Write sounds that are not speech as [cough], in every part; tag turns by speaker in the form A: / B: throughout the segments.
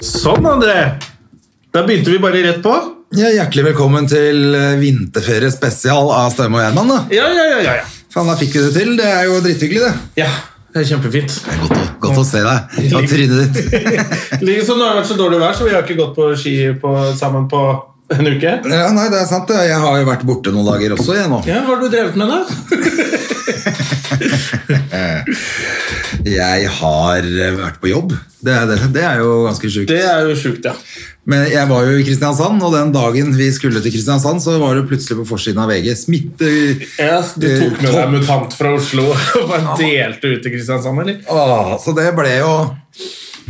A: Sånn, André! Da begynte vi bare rett på.
B: Ja, hjertelig velkommen til eh, vinterferie spesial av Stømme og Gjerman. Da.
A: Ja, ja, ja. ja, ja.
B: Faen, da fikk vi det til. Det er jo dritthyggelig, det.
A: ja det er [laughs] kjempefint.
B: Det er godt å, godt å se deg og trynet ditt.
A: Ligger som det har vært så dårlig vær, så vi har ikke gått på ski på, sammen på en uke.
B: [laughs] Ja, nei, det er sant. det. Jeg har jo vært borte noen dager også, jeg nå.
A: Ja, Hva har du drevet med, da?
B: Jeg har eh, vært på jobb. Det er, det, det er jo ganske sjukt.
A: Det er jo sjukt, ja.
B: Men jeg var jo i Kristiansand, og den dagen vi skulle til Kristiansand, så var det plutselig på forsiden av VG smitte...
A: ja du tok med
B: Topp.
A: deg mutant fra Oslo og bare delte ut til Kristiansand, eller?
B: Åh, så det ble jo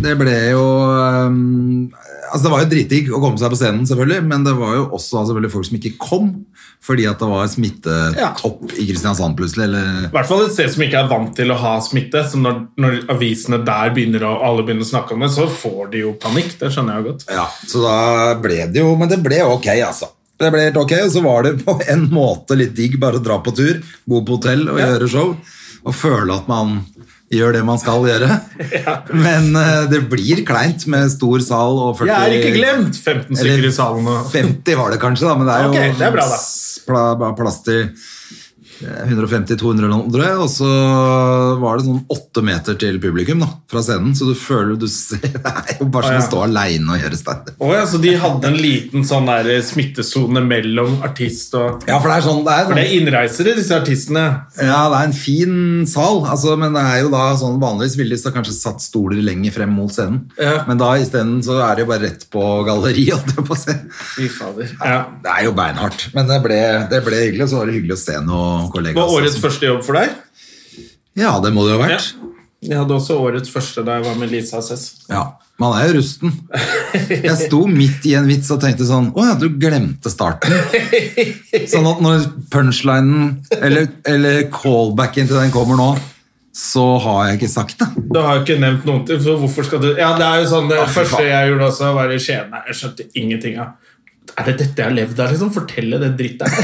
B: Det ble jo ehm, Altså det var jo dritdigg å komme seg på scenen selvfølgelig Men det var jo også da selvfølgelig folk som ikke kom Fordi at det var smittetopp i Kristiansand plutselig eller,
A: I hvert fall et sted som ikke er vant til å ha smitte. Så når, når avisene der begynner å, alle begynner å snakke om det, så får de jo panikk. Det skjønner jeg jo godt.
B: ja, Så da ble det jo Men det ble ok altså Det ble helt ok Og så var det på en måte litt digg Bare å dra på tur, bo på hotell og gjøre show Og føle at man gjør det man skal
A: [laughs]
B: gjøre Men eh, det blir kleint med stor sal og 40
A: Jeg er ikke glemt! 15 stykker
B: Eller
A: i salen. Og...
B: 50 var det kanskje, da, men det er jo
A: Ok, det er bra, da.
B: s- pla- bare plass til eh, 150-200 eller noe, tror jeg. Og så var det sånn åtte meter til publikum da, fra scenen, så du føler du ser [laughs] Det er jo bare som å
A: Å, ja.
B: stå aleine og gjøre standup.
A: Å ja, så de hadde en liten sånn der smittesone mellom artist og
B: Ja, for det er sånn det er,
A: For det er innreisere, disse artistene.
B: ja, det er en fin sal, altså, men det er jo da sånn vanligvis ville de så kanskje satt stoler lenger frem mot scenen.
A: Ja.
B: Men da isteden så er det jo bare rett på galleriet. [laughs] holdt jeg på å si.
A: Fy fader. Ja.
B: Det er jo beinhardt, men det ble, det ble hyggelig. Og så var det hyggelig å se noen kollegaer.
A: Var
B: også
A: årets
B: som-
A: første jobb for deg?
B: Ja, det må det jo ha vært.
A: Jeg hadde også årets første da jeg var med Lisa Cess.
B: Ja, man er jo rusten. Jeg sto midt i en vits og tenkte sånn Å ja, du glemte starten. Sånn at når punchlinen, eller, eller callbacken til den kommer nå, så har jeg ikke sagt det.
A: Du har jo ikke nevnt noen ting, så hvorfor skal du Ja, det er jo sånn, det
B: fy
A: første
B: faen.
A: jeg gjorde også, var i Skien. Nei, Jeg skjønte ingenting av Er det dette jeg har levd av, liksom? Fortelle det dritt der.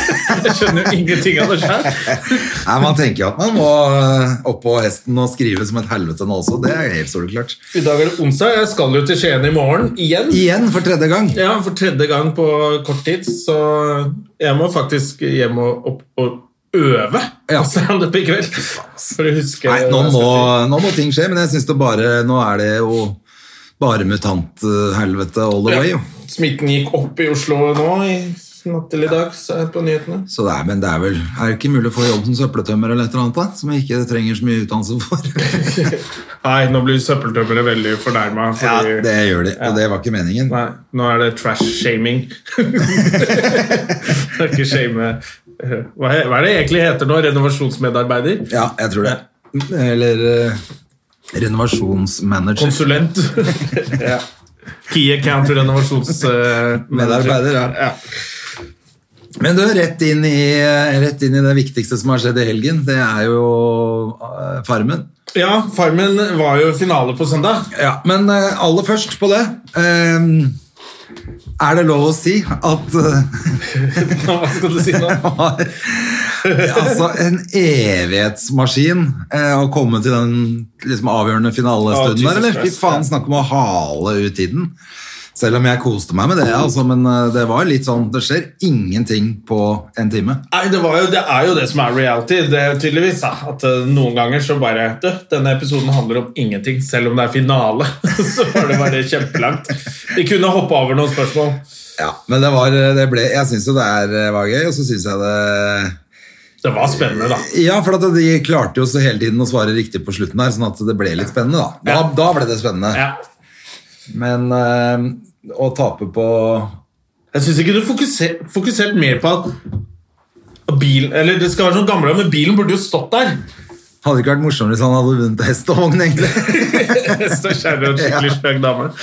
A: [laughs] Jeg skjønner jo ingenting av det sjøl.
B: Nei, Man tenker jo at man må øh, opp på hesten og skrive som et helvete nå også. Det er helt soleklart.
A: I dag er det onsdag, jeg skal jo til Skien i morgen igjen.
B: Igjen for tredje gang.
A: Ja, for tredje gang på kort tid, så jeg må faktisk hjem og, opp, og øve
B: Ja.
A: på standup i kveld. For å huske
B: Nei, nå
A: hva jeg
B: må,
A: skal si.
B: nå må ting skje, men jeg syns det bare Nå er det jo bare mutant-helvete all the way, jo.
A: Smitten gikk opp i Oslo nå i natt til i dag, så er jeg på nyhetene.
B: Så det er, men det er vel Er det ikke mulig å få jobb som søppeltømmer eller et eller annet da? Som jeg ikke trenger så mye utdannelse for?
A: Nei, nå blir søppeltømmere veldig fornærma.
B: [laughs] ja, det gjør de, og det var ikke meningen.
A: Nei, nå er det trash-shaming.
B: [laughs]
A: Det er ikke shame hva, he- hva er det egentlig heter nå? Renovasjonsmedarbeider?
B: Ja, jeg tror det. Eller eh, renovasjonsmanager.
A: Konsulent? ja. Key account eh, renovasjonsmedarbeider.
B: Medarbeider, ja. Men du, rett inn, i, rett inn i det viktigste som har skjedd i helgen. Det er jo eh, Farmen.
A: ja, Farmen var jo finale på søndag. [laughs]
B: Ja, Men eh, aller først på det eh, Er det lov å si at eh,
A: Hva skal du si nå?
B: var [laughs] altså en evighetsmaskin eh, å komme til den liksom, avgjørende finalestunden
A: Ja, Jesus
B: der, eller? Fy
A: Christ,
B: faen,
A: ja.
B: snakk om å hale ut tiden. Selv om jeg koste meg med det, altså, men eh, det var litt sånn Det skjer ingenting på en time.
A: Nei, det, var jo, det er jo det som er reality, det er tydeligvis. Da. At eh, noen ganger så bare Du, denne episoden handler om ingenting, selv om det er finale. [laughs] så var det bare kjempelangt. De kunne hoppe over noen spørsmål.
B: Ja, men det var eh, det ble, Jeg syns jo det er, eh, var gøy, og så syns jeg det
A: Det var spennende, da.
B: Ja, for at de klarte jo så hele tiden å svare riktig på slutten her, sånn at det ble litt spennende, da. Da,
A: Ja.
B: da ble det spennende.
A: Ja.
B: Men eh, å tape på
A: Jeg syns ikke du fokuserte fokusert mer på at at bilen, eller det skal være sånn gamle, men bilen burde jo stått der.
B: Hadde ikke vært morsommere hvis han hadde vunnet [laughs] hest og vogn, egentlig.
A: [laughs] Hest og kjerre og en skikkelig stygg dame. [laughs]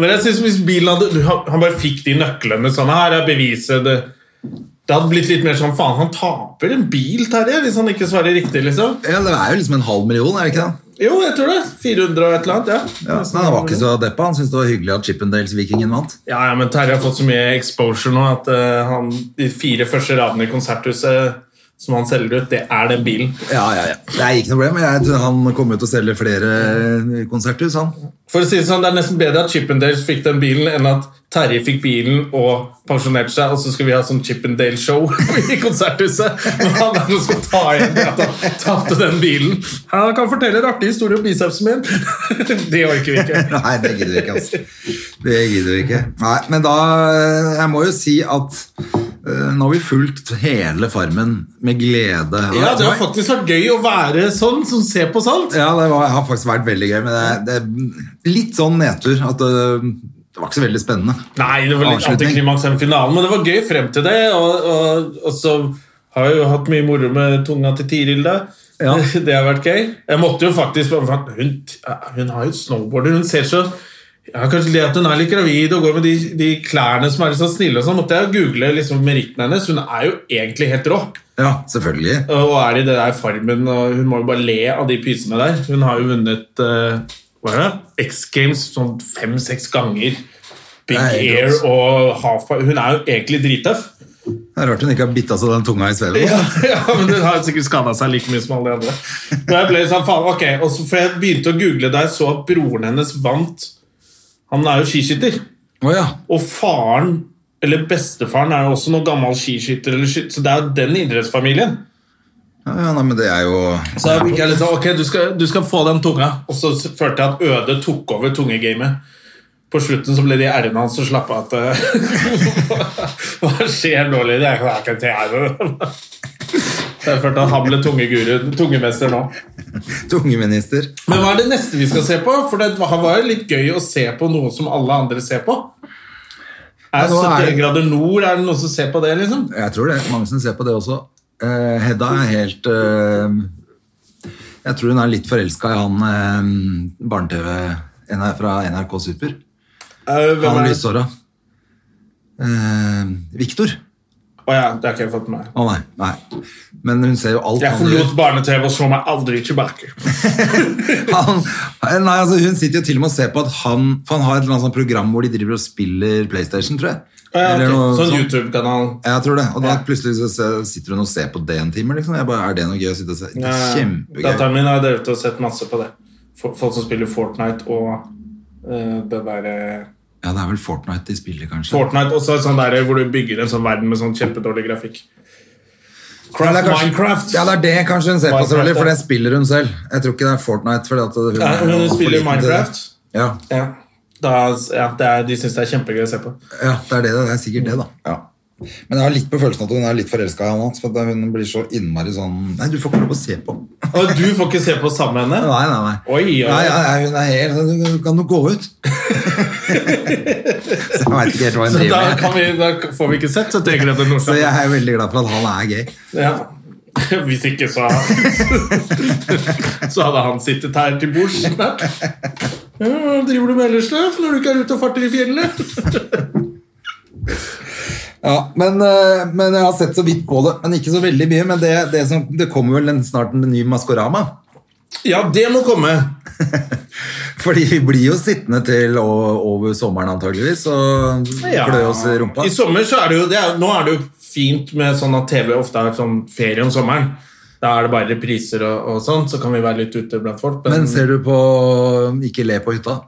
A: Men jeg synes hvis bilen hadde du, Han han bare fikk de nøklene sånn her, er beviset det. det hadde blitt litt mer sånn faen, han taper en bil, Terje, hvis han ikke svarer riktig, liksom.
B: Ja, Det er jo liksom en halv million, er det ikke det?
A: Jo, jeg tror det. 400 og et eller annet, ja.
B: Ja, så han var ikke så deppa. Han syntes det var hyggelig at Chippendales-vikingen vant.
A: Ja, ja, men Terje har fått så mye exposure nå at eh, han, de fire første radene i konserthuset eh, som han selger ut, det er den bilen.
B: Ja, ja, ja. Det er ikke noe problem. Jeg tror han kommer til å selge flere konserthus, han.
A: For å si Det sånn, det er nesten bedre at Chippendales fikk den bilen enn at Terje fikk bilen og pensjonerte seg, og så skal vi ha sånn Chippendale-show [laughs] i konserthuset. Men han er som skal ta igjen det at han tapte den bilen. Han kan fortelle en artig historie om bicepsen min. [laughs] Det orker vi ikke.
B: Nei, det gidder vi ikke, altså. Det gidder vi ikke. Nei, men da Jeg må jo si at eh, nå har vi fulgt hele Farmen med glede.
A: Ja, Det har faktisk vært gøy å være sånn som ser på sånt.
B: Ja, det var, har faktisk vært veldig gøy, men det, det er litt sånn nedtur. At det, det var ikke så veldig spennende.
A: Nei, det var litt
B: Avslutning.
A: antiklimaks den finalen, men det var gøy frem til det. Og, og, og så har jeg jo hatt mye moro med tunga til Tiril, da.
B: Ja.
A: [laughs] Det har vært gøy. Jeg måtte jo faktisk for at Hun, hun har jo snowboarder. Hun ser så ja, Kanskje det at hun er litt gravid og går med de, de klærne som er litt sånn snille, og sånn, måtte jeg google liksom merittene hennes. Hun er jo egentlig helt rå.
B: Ja, selvfølgelig.
A: Og er i det der farmen, og hun må jo bare le av de pysene der. Hun har jo vunnet eh, hva er det? X Games sånn fem-seks ganger. Big
B: Det er helt
A: Air og half Hun er jo egentlig drittøff.
B: Det er rart hun ikke har bitt av seg den tunga i svevet.
A: Ja, [laughs] ja, men hun har jo sikkert skada seg like mye som alle de andre. Men jeg ble sånn, faen, ok, og så For jeg begynte å google da jeg så at broren hennes vant. Han er jo skiskytter.
B: Å ja.
A: Og faren, eller bestefaren, er jo også noen gammel skiskytter, eller skyt, så det er jo den idrettsfamilien.
B: Ja, ja, nei, men det er jo
A: Så jeg fikk jeg litt sånn, ok, du skal, du skal få den tunga. Og så følte jeg at Øde tok over tungegamet. På slutten så ble de ærene hans og slapp av at eh, [laughs] hva, hva skjer nå, Lydie? Jeg klarer ikke å tjene det. Så jeg følte at han ble tungeguru, tungemester nå.
B: tungeminister.
A: Men hva er det neste vi skal se på? For det var var jo litt gøy å se på noe som alle andre ser på. Er
B: nå er
A: 71
B: det-
A: grader nord, er det noen som ser på det, liksom?
B: Jeg tror det. er Mange som ser på det også. Eh, Hedda er helt eh, Jeg tror hun er litt forelska i han eh, barne-TV NR fra NRK Super.
A: Eh, Hvem
B: Han
A: er det?
B: lyshåra. Eh, Viktor.
A: Å ja, det har ikke jeg fått med meg.
B: Å nei, nei. Men hun ser jo alt
A: Jeg
B: han gjør.
A: forlot barne-TV og så meg aldri tilbake.
B: han, nei, altså hun sitter jo til og med og ser på at han For han har et eller annet sånt program hvor de driver og spiller PlayStation, tror jeg.
A: Ja, ok.
B: Eller noe
A: Sånn
B: sånt.
A: YouTube-kanal.
B: Ja, Jeg tror det. Og da
A: Ja.
B: plutselig så se- sitter hun og ser på det en time. Liksom. Jeg bare, er det noe gøy å sitte og se? Det er
A: Ja,
B: kjempegøy.
A: Datteren min har drevet og sett masse på det. Fo- Folk som spiller Fortnite og eh, det derre
B: Ja, det er vel Fortnite de spiller, kanskje.
A: Fortnite også er sånn der hvor du bygger en sånn verden med sånn kjempedårlig grafikk.
B: Ja,
A: Craft
B: det er kanskje-
A: Minecraft!
B: Ja, det er det kanskje hun ser på,
A: Minecraft,
B: selvfølgelig, for
A: ja.
B: det spiller hun selv. Jeg tror ikke det er Fortnite. Fordi at hun,
A: Nei,
B: er
A: hun
B: for
A: spiller
B: liten til det.
A: Minecraft.
B: Ja,
A: Ja. Da, ja, det er, de syns det er kjempegøy å se på.
B: ja, det er det. Det er sikkert det, da. Ja. Men jeg har litt på følelsen at hun er litt forelska i han hans. For at hun blir så innmari sånn Nei, du får ikke lov å se på.
A: Og du får ikke se på sammen med henne?
B: Nei, nei, nei.
A: Oi, oi.
B: Nei, nei, nei, hun er helt sånn, du- du Kan du gå
A: [laughs]
B: ut? [laughs] så jeg veit ikke helt hva hun
A: Så da,
B: driver med.
A: kan vi, da får vi ikke sett 70 grader nord.
B: Så jeg er veldig glad for at han er gay.
A: Ja. [laughs] Hvis ikke, så [laughs] Så hadde han sittet her til bords snart. Ja, hva driver du med ellers, da? Når du ikke er ute og farter i fjellene?
B: Ja, men, eh, men jeg har sett så vidt på det. Men ikke så veldig mye. Men det, det, som, det kommer vel en, snart en ny Maskorama.
A: Ja, det må komme.
B: Fordi vi blir jo sittende til å- over sommeren antageligvis og
A: Ja.
B: klø oss i rumpa.
A: I sommer så er det jo det er, Nå er det jo fint med sånn at TV ofte er sånn ferie om sommeren. Da er det bare repriser og, og sånn, så kan vi være litt ute blant folk.
B: Men ser du på Ikke le på hytta?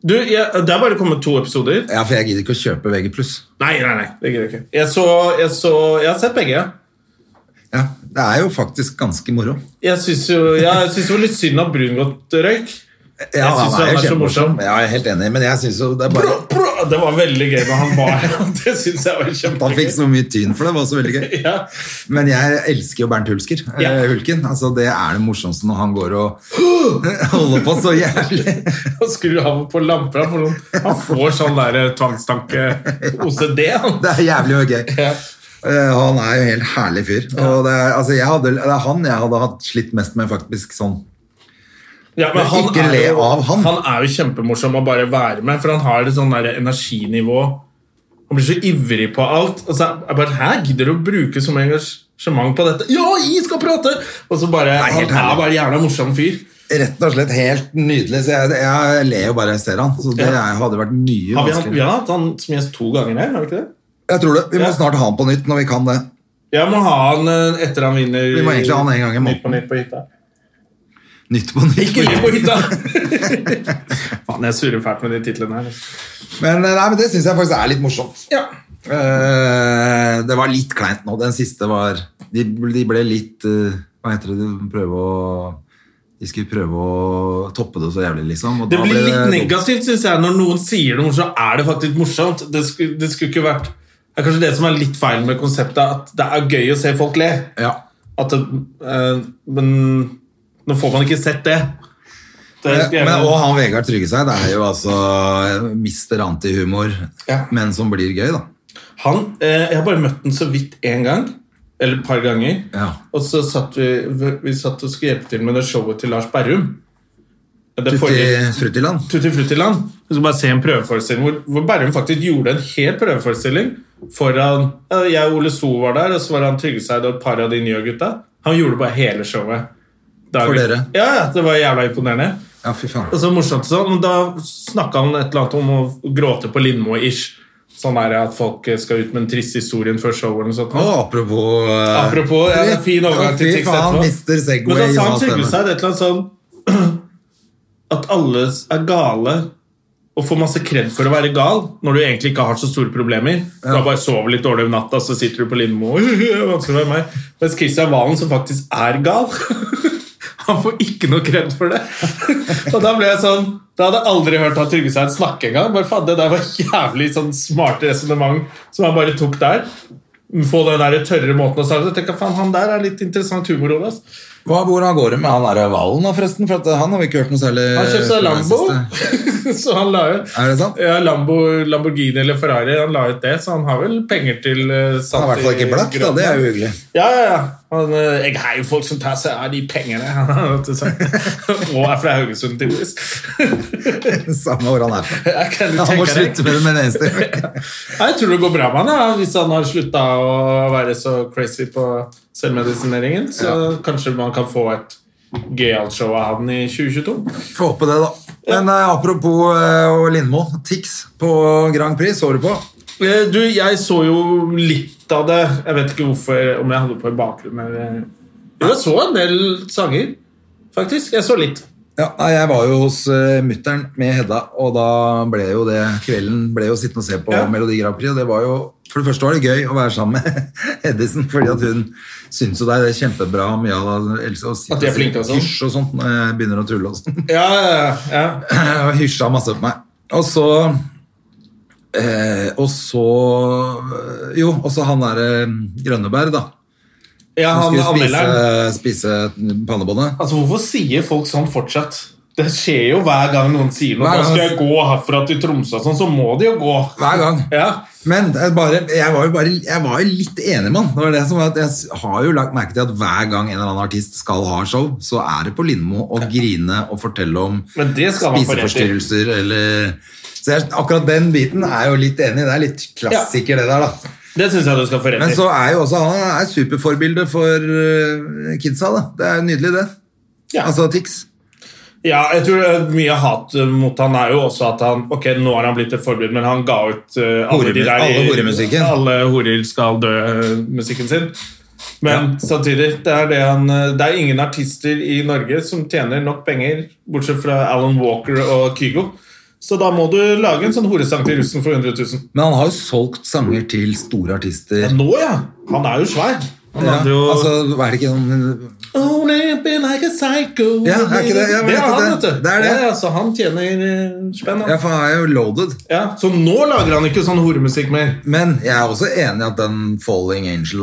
A: du, jeg, det er bare kommet to episoder.
B: Ja, for jeg gidder ikke å kjøpe VG+.
A: Nei, nei, nei. det gidder jeg ikke. Jeg så, jeg så Jeg har sett begge.
B: Ja, det er jo faktisk ganske moro.
A: Jeg syns jo ja, jeg synes det var litt synd at Brungot røyk.
B: Ja,
A: synes
B: han er jo
A: så
B: kjempemorsom.
A: morsom.
B: Ja, jeg er helt enig, men jeg synes jo det er bare
A: Bra, bra. Det var veldig gøy når han var her. [laughs] Det syns jeg var
B: Han fikk sånn-
A: kjempegøy.
B: så mye tyn for det, det var så veldig gøy.
A: [laughs] Ja.
B: Men jeg elsker jo Bernt Hulsker. eh,
A: Ja.
B: Hulken. Altså, det er det morsomste når han går og [gasps] holder på så jævlig.
A: Han skrur av på lamper. Han får, eh, noen, han får sånn der tvangstanke-OCD. han.
B: Det er jævlig og gøy.
A: Ja.
B: Eh, Han er jo en helt herlig fyr. Og det, er- altså, jeg hadde, det er han jeg hadde hatt slitt mest med, faktisk. sånn.
A: Ja,
B: Men ikke
A: er
B: le
A: jo-
B: av han.
A: Han er jo kjempemorsom å bare være med, for han har et sånn der energinivå. Han blir så ivrig på alt. Og så er jeg bare, Hæ, gidder du å bruke så mye engasjement på dette? Ja, jeg skal prate! Og så bare,
B: Nei,
A: Han
B: helt
A: er
B: ærlig.
A: bare en jævla morsom fyr.
B: Rett og slett helt nydelig. Så jeg, jeg ler jo bare jeg ser han. Så det
A: Ja.
B: er- hadde vært mye
A: Har vi, hatt- vi
B: vanskeligere.
A: har hatt han som gjest to ganger her, har vi ikke det?
B: Jeg tror det. Vi
A: Ja.
B: må snart ha han på nytt når vi kan det.
A: Jeg må ha han eh, etter han vinner
B: Vi må egentlig ha han en gang i
A: Nytt på
B: måneden.
A: nytt på hytta.
B: Nytt på
A: Ikke Nytt på
B: nytt.
A: hytta!
B: [laughs]
A: Faen, jeg surrer fælt med de titlene her.
B: Men, eh, nei, men det syns jeg faktisk er litt morsomt.
A: Ja.
B: Eh, det var litt kleint nå. Den siste var De, de ble litt eh, Hva heter det? De, prøve å, de skulle prøve å toppe det så jævlig, liksom. Og
A: Det
B: da
A: blir
B: ble
A: litt
B: dumt.
A: negativt, synes jeg, når noen sier noe morsomt. Er det faktisk morsomt? Det skulle, det skulle ikke vært Det er kanskje det som er litt feil med konseptet, at det er gøy å se folk le.
B: Ja.
A: At det, eh, men nå får man ikke sett det. det er-
B: Men, og han Vegard Tryggeseid er jo altså mister antihumor,
A: Ja.
B: men som blir gøy, da.
A: Han, eh, jeg har bare møtt den så vidt én gang, eller et par ganger.
B: Ja.
A: Og så satt vi, vi, vi satt og skulle hjelpe til med det showet til Lars Berrum. Det
B: Tutti
A: forrige-
B: Fruttiland.
A: Tutti Fruttiland. Vi skal bare se en prøveforestilling hvor, hvor Berrum faktisk gjorde en hel prøveforestilling foran ja, Jeg og Ole So var der, og så var han Tryggeseid og et par av de nye gutta. Han gjorde bare hele showet. Dagen-
B: For dere?
A: Ja, ja, det var jævla imponerende.
B: Ja, fy faen.
A: Og så morsomt og sånn, men Da snakka han et eller annet om å gråte på Lindmo-ish. Sånn er det at folk skal ut med en trist historie før showet. eller noe sånt.
B: Og apropos eh,
A: Apropos, ja, det er fin overgang til
B: Fy
A: Tix
B: faen,
A: etterpå.
B: mister
A: Men da
B: Segway
A: sa
B: Jonas
A: han Trygve
B: Stemme.
A: seg et eller annet sånn [clears throat] At alle er gale og får masse kred for å være gal når du egentlig ikke har så store problemer. Du har bare sovet litt dårlig om natta, så sitter du på Lindmo [laughs] vanskelig å være meg. Mens Kristian Valen, som faktisk er gal [laughs] Han får ikke noe kred for det. [laughs] Og da ble jeg sånn Da hadde jeg aldri hørt han Trygve Seid snakke engang. Bare faen, det der var jævlig sånn smart resonnement som han bare tok der. Få den der tørre måten å starte. Tenk, faen, han der er litt interessant humor, Olas.
B: Hva, hvordan går det med han derre Valen, da, forresten? For at han har vi ikke hørt noe særlig
A: Han kjøpte seg
B: fra det
A: Lambo.
B: Eh, siste.
A: [laughs] så han la jo
B: Er det sant?
A: ja, Lambo, Lamborghini eller Ferrari, han la ut det, så han har vel penger til eh, satt
B: Han er i hvert fall ikke blakk, da.
A: grønn.
B: Det er jo hyggelig. [laughs]
A: Ja, ja, ja. Han, eh, jeg heier folk som tar seg av de pengene. [laughs] Han har alltid sagt. Og er fra Haugesund, tydeligvis. [laughs]
B: Samme hvor han er fra.
A: Jeg kan jo
B: Han må
A: tenke deg.
B: slutte med det med en eneste
A: [laughs]
B: gang.
A: Nei, Jeg tror det går bra med han, ja. hvis han har slutta å være så crazy på selvmedisineringen. Så kanskje man kan få et gøyalt show av han i 2022.
B: Få håpe det, da. Men eh, apropos eh, og Lindmo. Tix på Grand Prix så du på.
A: Eh, Du, jeg så jo litt av det. Jeg vet ikke hvorfor, om jeg hadde på i bakgrunnen eller Jo, jeg så en del sanger, faktisk. Jeg så litt.
B: Ja, nei, jeg var jo hos uh, mutter'n med Hedda, og da ble jo det kvelden ble jo sittende og se på
A: Ja.
B: Melodi Grand Prix. Og det var jo, for det første var det gøy å være sammen med [laughs] Hedisen, fordi at hun syns jo det er kjempebra mye av det. Else, og sitte
A: At de er flinke og
B: og si
A: sånn.
B: Hysj og sånt når jeg begynner å tulle og sånn.
A: Ja, ja,
B: [laughs] Og hysja masse på meg. Og så eh, Og så Jo, og så han derre Grønneberg, da.
A: ja. ja
B: Han
A: han
B: skulle
A: anmelderen.
B: spise, spise pannebåndet.
A: Altså, hvorfor sier folk sånn fortsatt? Det skjer jo hver gang noen sier noe.
B: Hver
A: Da
B: gang-
A: skal jeg gå herfra til Tromsø, og sånn, så må de jo gå.
B: Hver gang.
A: Ja.
B: Men jeg, bare, jeg, var jo bare, jeg var jo litt enig, mann. Det var det som var at jeg har jo lagt merke til at hver gang en eller annen artist skal ha show, så er det på Lindmo å grine og fortelle om
A: Men det skal man få rett i.
B: spiseforstyrrelser eller Så jeg, akkurat den biten er jeg jo litt enig i. Det er litt klassiker, det der, da.
A: Det syns jeg du skal få rett
B: Men
A: i.
B: så er jo også han er superforbilde for øh, kidsa, da. Det er jo nydelig, det.
A: Ja.
B: Altså Tix.
A: Ja, jeg tror eh, mye hat eh, mot han er jo også at han Ok, nå har han blitt et forbilde, men han ga ut eh, alle,
B: Hore-
A: de der,
B: alle horemusikken.
A: Alle horer skal dø-musikken sin. Men samtidig, det er, det, han, eh, det er ingen artister i Norge som tjener nok penger, bortsett fra Alan Walker og Kygo. Så da må du lage en sånn horesang til russen for 100 000.
B: Men han har jo solgt sanger til store artister.
A: Nå, ja! Han er jo svær. Han
B: Ja,
A: hadde jo
B: altså, er det ikke noen
A: Only been like a psycho
B: Ja, er ikke det? Ja, men
A: Det
B: vet
A: er
B: du
A: han,
B: det?
A: vet du.
B: Det er det.
A: Ja, ja, så han tjener eh, spenn. han.
B: Ja, for han er jo loaded.
A: Ja, Så nå lager han ikke sånn horemusikk mer.
B: Men jeg er også enig i at den Falling Angel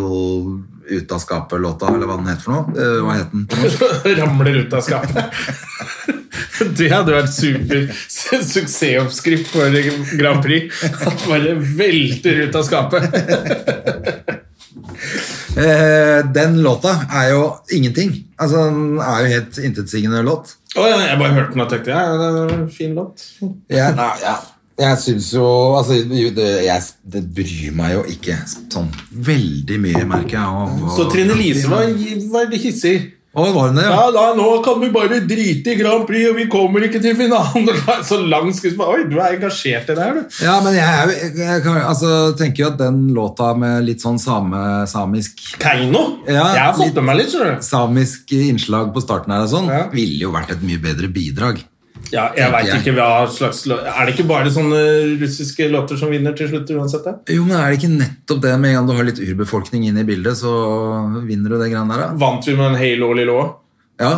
B: ut av skapet-låta, eller hva den het for noe eh, Hva het den? på norsk?
A: [laughs] Ramler ut av skapet. Det hadde vært super su- suksessoppskrift for Grand Prix. At bare velter ut av skapet.
B: Eh, den låta er jo ingenting. Altså, Den er jo helt intetsigende låt.
A: Å, ja, jeg bare hørte den og tenkte ja, det er en fin låt.
B: Ja, nei, ja. Jeg syns jo altså, jo, det, jeg, det bryr meg jo ikke sånn veldig mye, merker jeg. Og, og,
A: Så Trine Lise var veldig hissig.
B: Å, var hun det, ja?
A: Ja, da, nå kan vi bare drite i Grand Prix, og vi kommer ikke til finalen. [laughs] Det var Så lang skuespill. Oi, du er engasjert i det her, du.
B: Ja, men jeg, er jo- jeg, jeg kan- altså, tenker jo at den låta med litt sånn same, samisk
A: Keiino?
B: Ja,
A: jeg har
B: litt-
A: fått med meg litt, skjønner du.
B: Samisk innslag på starten her og sånn
A: Ja.
B: ville jo vært et mye bedre bidrag.
A: Ja, jeg vet
B: jeg.
A: ikke hva slags lå- Er det ikke bare sånne russiske låter som vinner til slutt uansett? da?
B: Jo, men er det ikke nettopp det med en gang du har litt urbefolkning inne i bildet, så vinner du det greiene der, da?
A: Vant vi med en Halo Lilå?
B: Ja.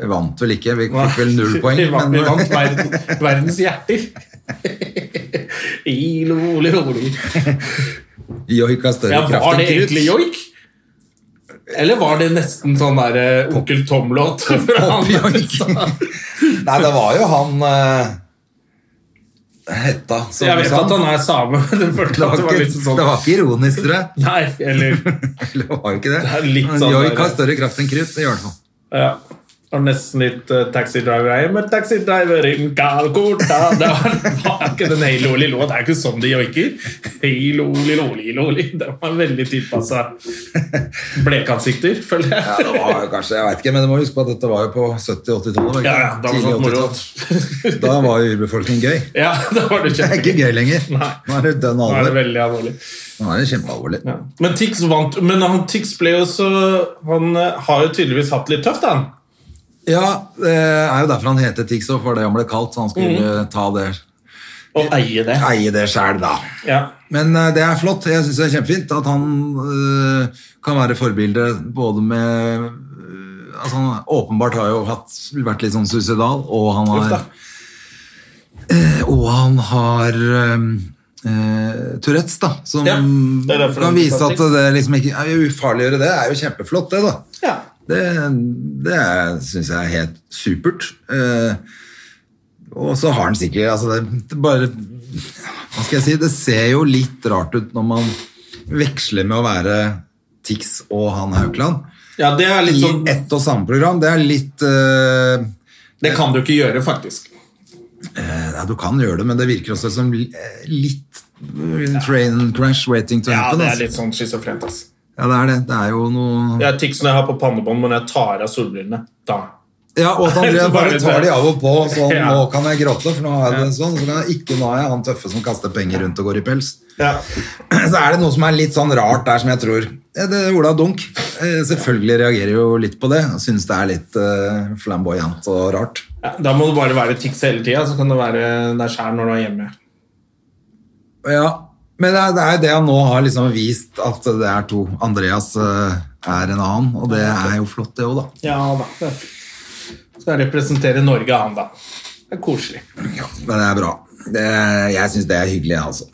B: Vi vant vel ikke, vi fikk vel null poeng.
A: [laughs] Vi vant,
B: men-
A: vi vant verden, verdens hjerter. Halo Lilå.
B: [laughs] Joik har større
A: Ja,
B: kraft
A: var
B: enn
A: det egentlig
B: krut.
A: joik? Eller var det nesten sånn der eh, Onkel Tom-låt? fra han?
B: Pop-joik. Nei, det var jo han eh, Hetta. som
A: Jeg
B: du
A: vet
B: sa.
A: at han er same. [laughs] men jeg følte
B: det
A: at
B: var,
A: det var
B: ikke,
A: litt sånn
B: det var ikke ironisk, tror jeg. [laughs]
A: Nei, eller
B: Eller det var jo ikke det.
A: Det er litt
B: Men
A: sånn der-
B: Joik har større kraft enn krut, i hvert fall.
A: ja. Det var nesten litt eh, Taxi Driver I'm a taxi driver in Calcutta Det var, var ikke den hei loli lå. Det er ikke sånn de joiker. Hei loli loli loli. Det var veldig tilpassa blekansikter, føler jeg.
B: Ja, det var jo kanskje, jeg vet ikke, men du må huske på at dette var jo på 70-80-tallet. var det ikke?
A: [laughs] Ja, ja, da var det
B: Tidlig
A: sånn moro.
B: 80-tall. Da var jo urbefolkningen gøy.
A: [laughs] Ja, da var det
B: Det er ikke
A: kjempegøy.
B: gøy lenger.
A: Nei.
B: Nå er det dønn
A: Nå er det
B: alvor.
A: veldig alvorlig.
B: Nå er det kjempealvorlig.
A: Ja. Men Tix vant Men han Tix ble jo så Han eh, har jo tydeligvis hatt litt tøft, han.
B: Ja, det er jo derfor han heter Tixo, for det han ble kalt, så han skulle
A: Mhm.
B: ta det,
A: Å eie det.
B: eie det selv da.
A: Ja.
B: Men eh, det er flott, jeg synes det er kjempefint at han eh, kan være forbilde både med eh, Altså, han åpenbart har jo hatt, vært litt sånn suicidal, og han
A: Uff
B: har eh,
A: da.
B: Og han har eh, eh, Tourettes, da. Som
A: Ja, det er derfor
B: kan
A: han
B: vise
A: tar
B: at
A: triks.
B: det liksom ikke er jo ufarliggjøre det. er jo kjempeflott, det, da.
A: Ja.
B: Det, det syns jeg er helt supert. Eh, og så har han sikkert altså det, det bare Hva skal jeg si? Det ser jo litt rart ut når man veksler med å være Tix og han Haukeland
A: ja, det er litt
B: i
A: sånn
B: ett og samme program. Det er litt eh,
A: Det kan du ikke gjøre, faktisk.
B: Ja, du kan gjøre det, men det virker også som li- eh, litt eh, train crash waiting to
A: Ja,
B: happen.
A: det er
B: altså.
A: litt sånn schizofrent, ass.
B: ja, det er det. Det er jo noe
A: Jeg har tics når jeg har på pannebånd, men jeg tar av solbrillene. Da.
B: Ja, og at han
A: [laughs] Så
B: driver-
A: bare
B: bare tar de av og på sånn
A: Ja.
B: Nå kan jeg gråte, for nå er det sånn. Så kan jeg ikke nå er jeg han tøffe som kaster penger rundt og går i pels. [clears throat]
A: Ja.
B: Så er det noe som er litt sånn rart der, som jeg tror Eh, det er Ola Dunk eh, selvfølgelig reagerer jo litt på det. Syns det er litt eh, flamboyant og rart.
A: Ja, da må du bare være tics hele tida, så kan du være deg sjæl når du er hjemme.
B: Ja, men det er, det er jo det han nå har liksom vist at det er to. Andreas eh, er en annen, og det er jo flott det òg, da.
A: Ja da. det er fint. Skal representere Norge, han, da. Det er koselig.
B: Men det er bra. Det, jeg syns det er hyggelig, jeg, altså.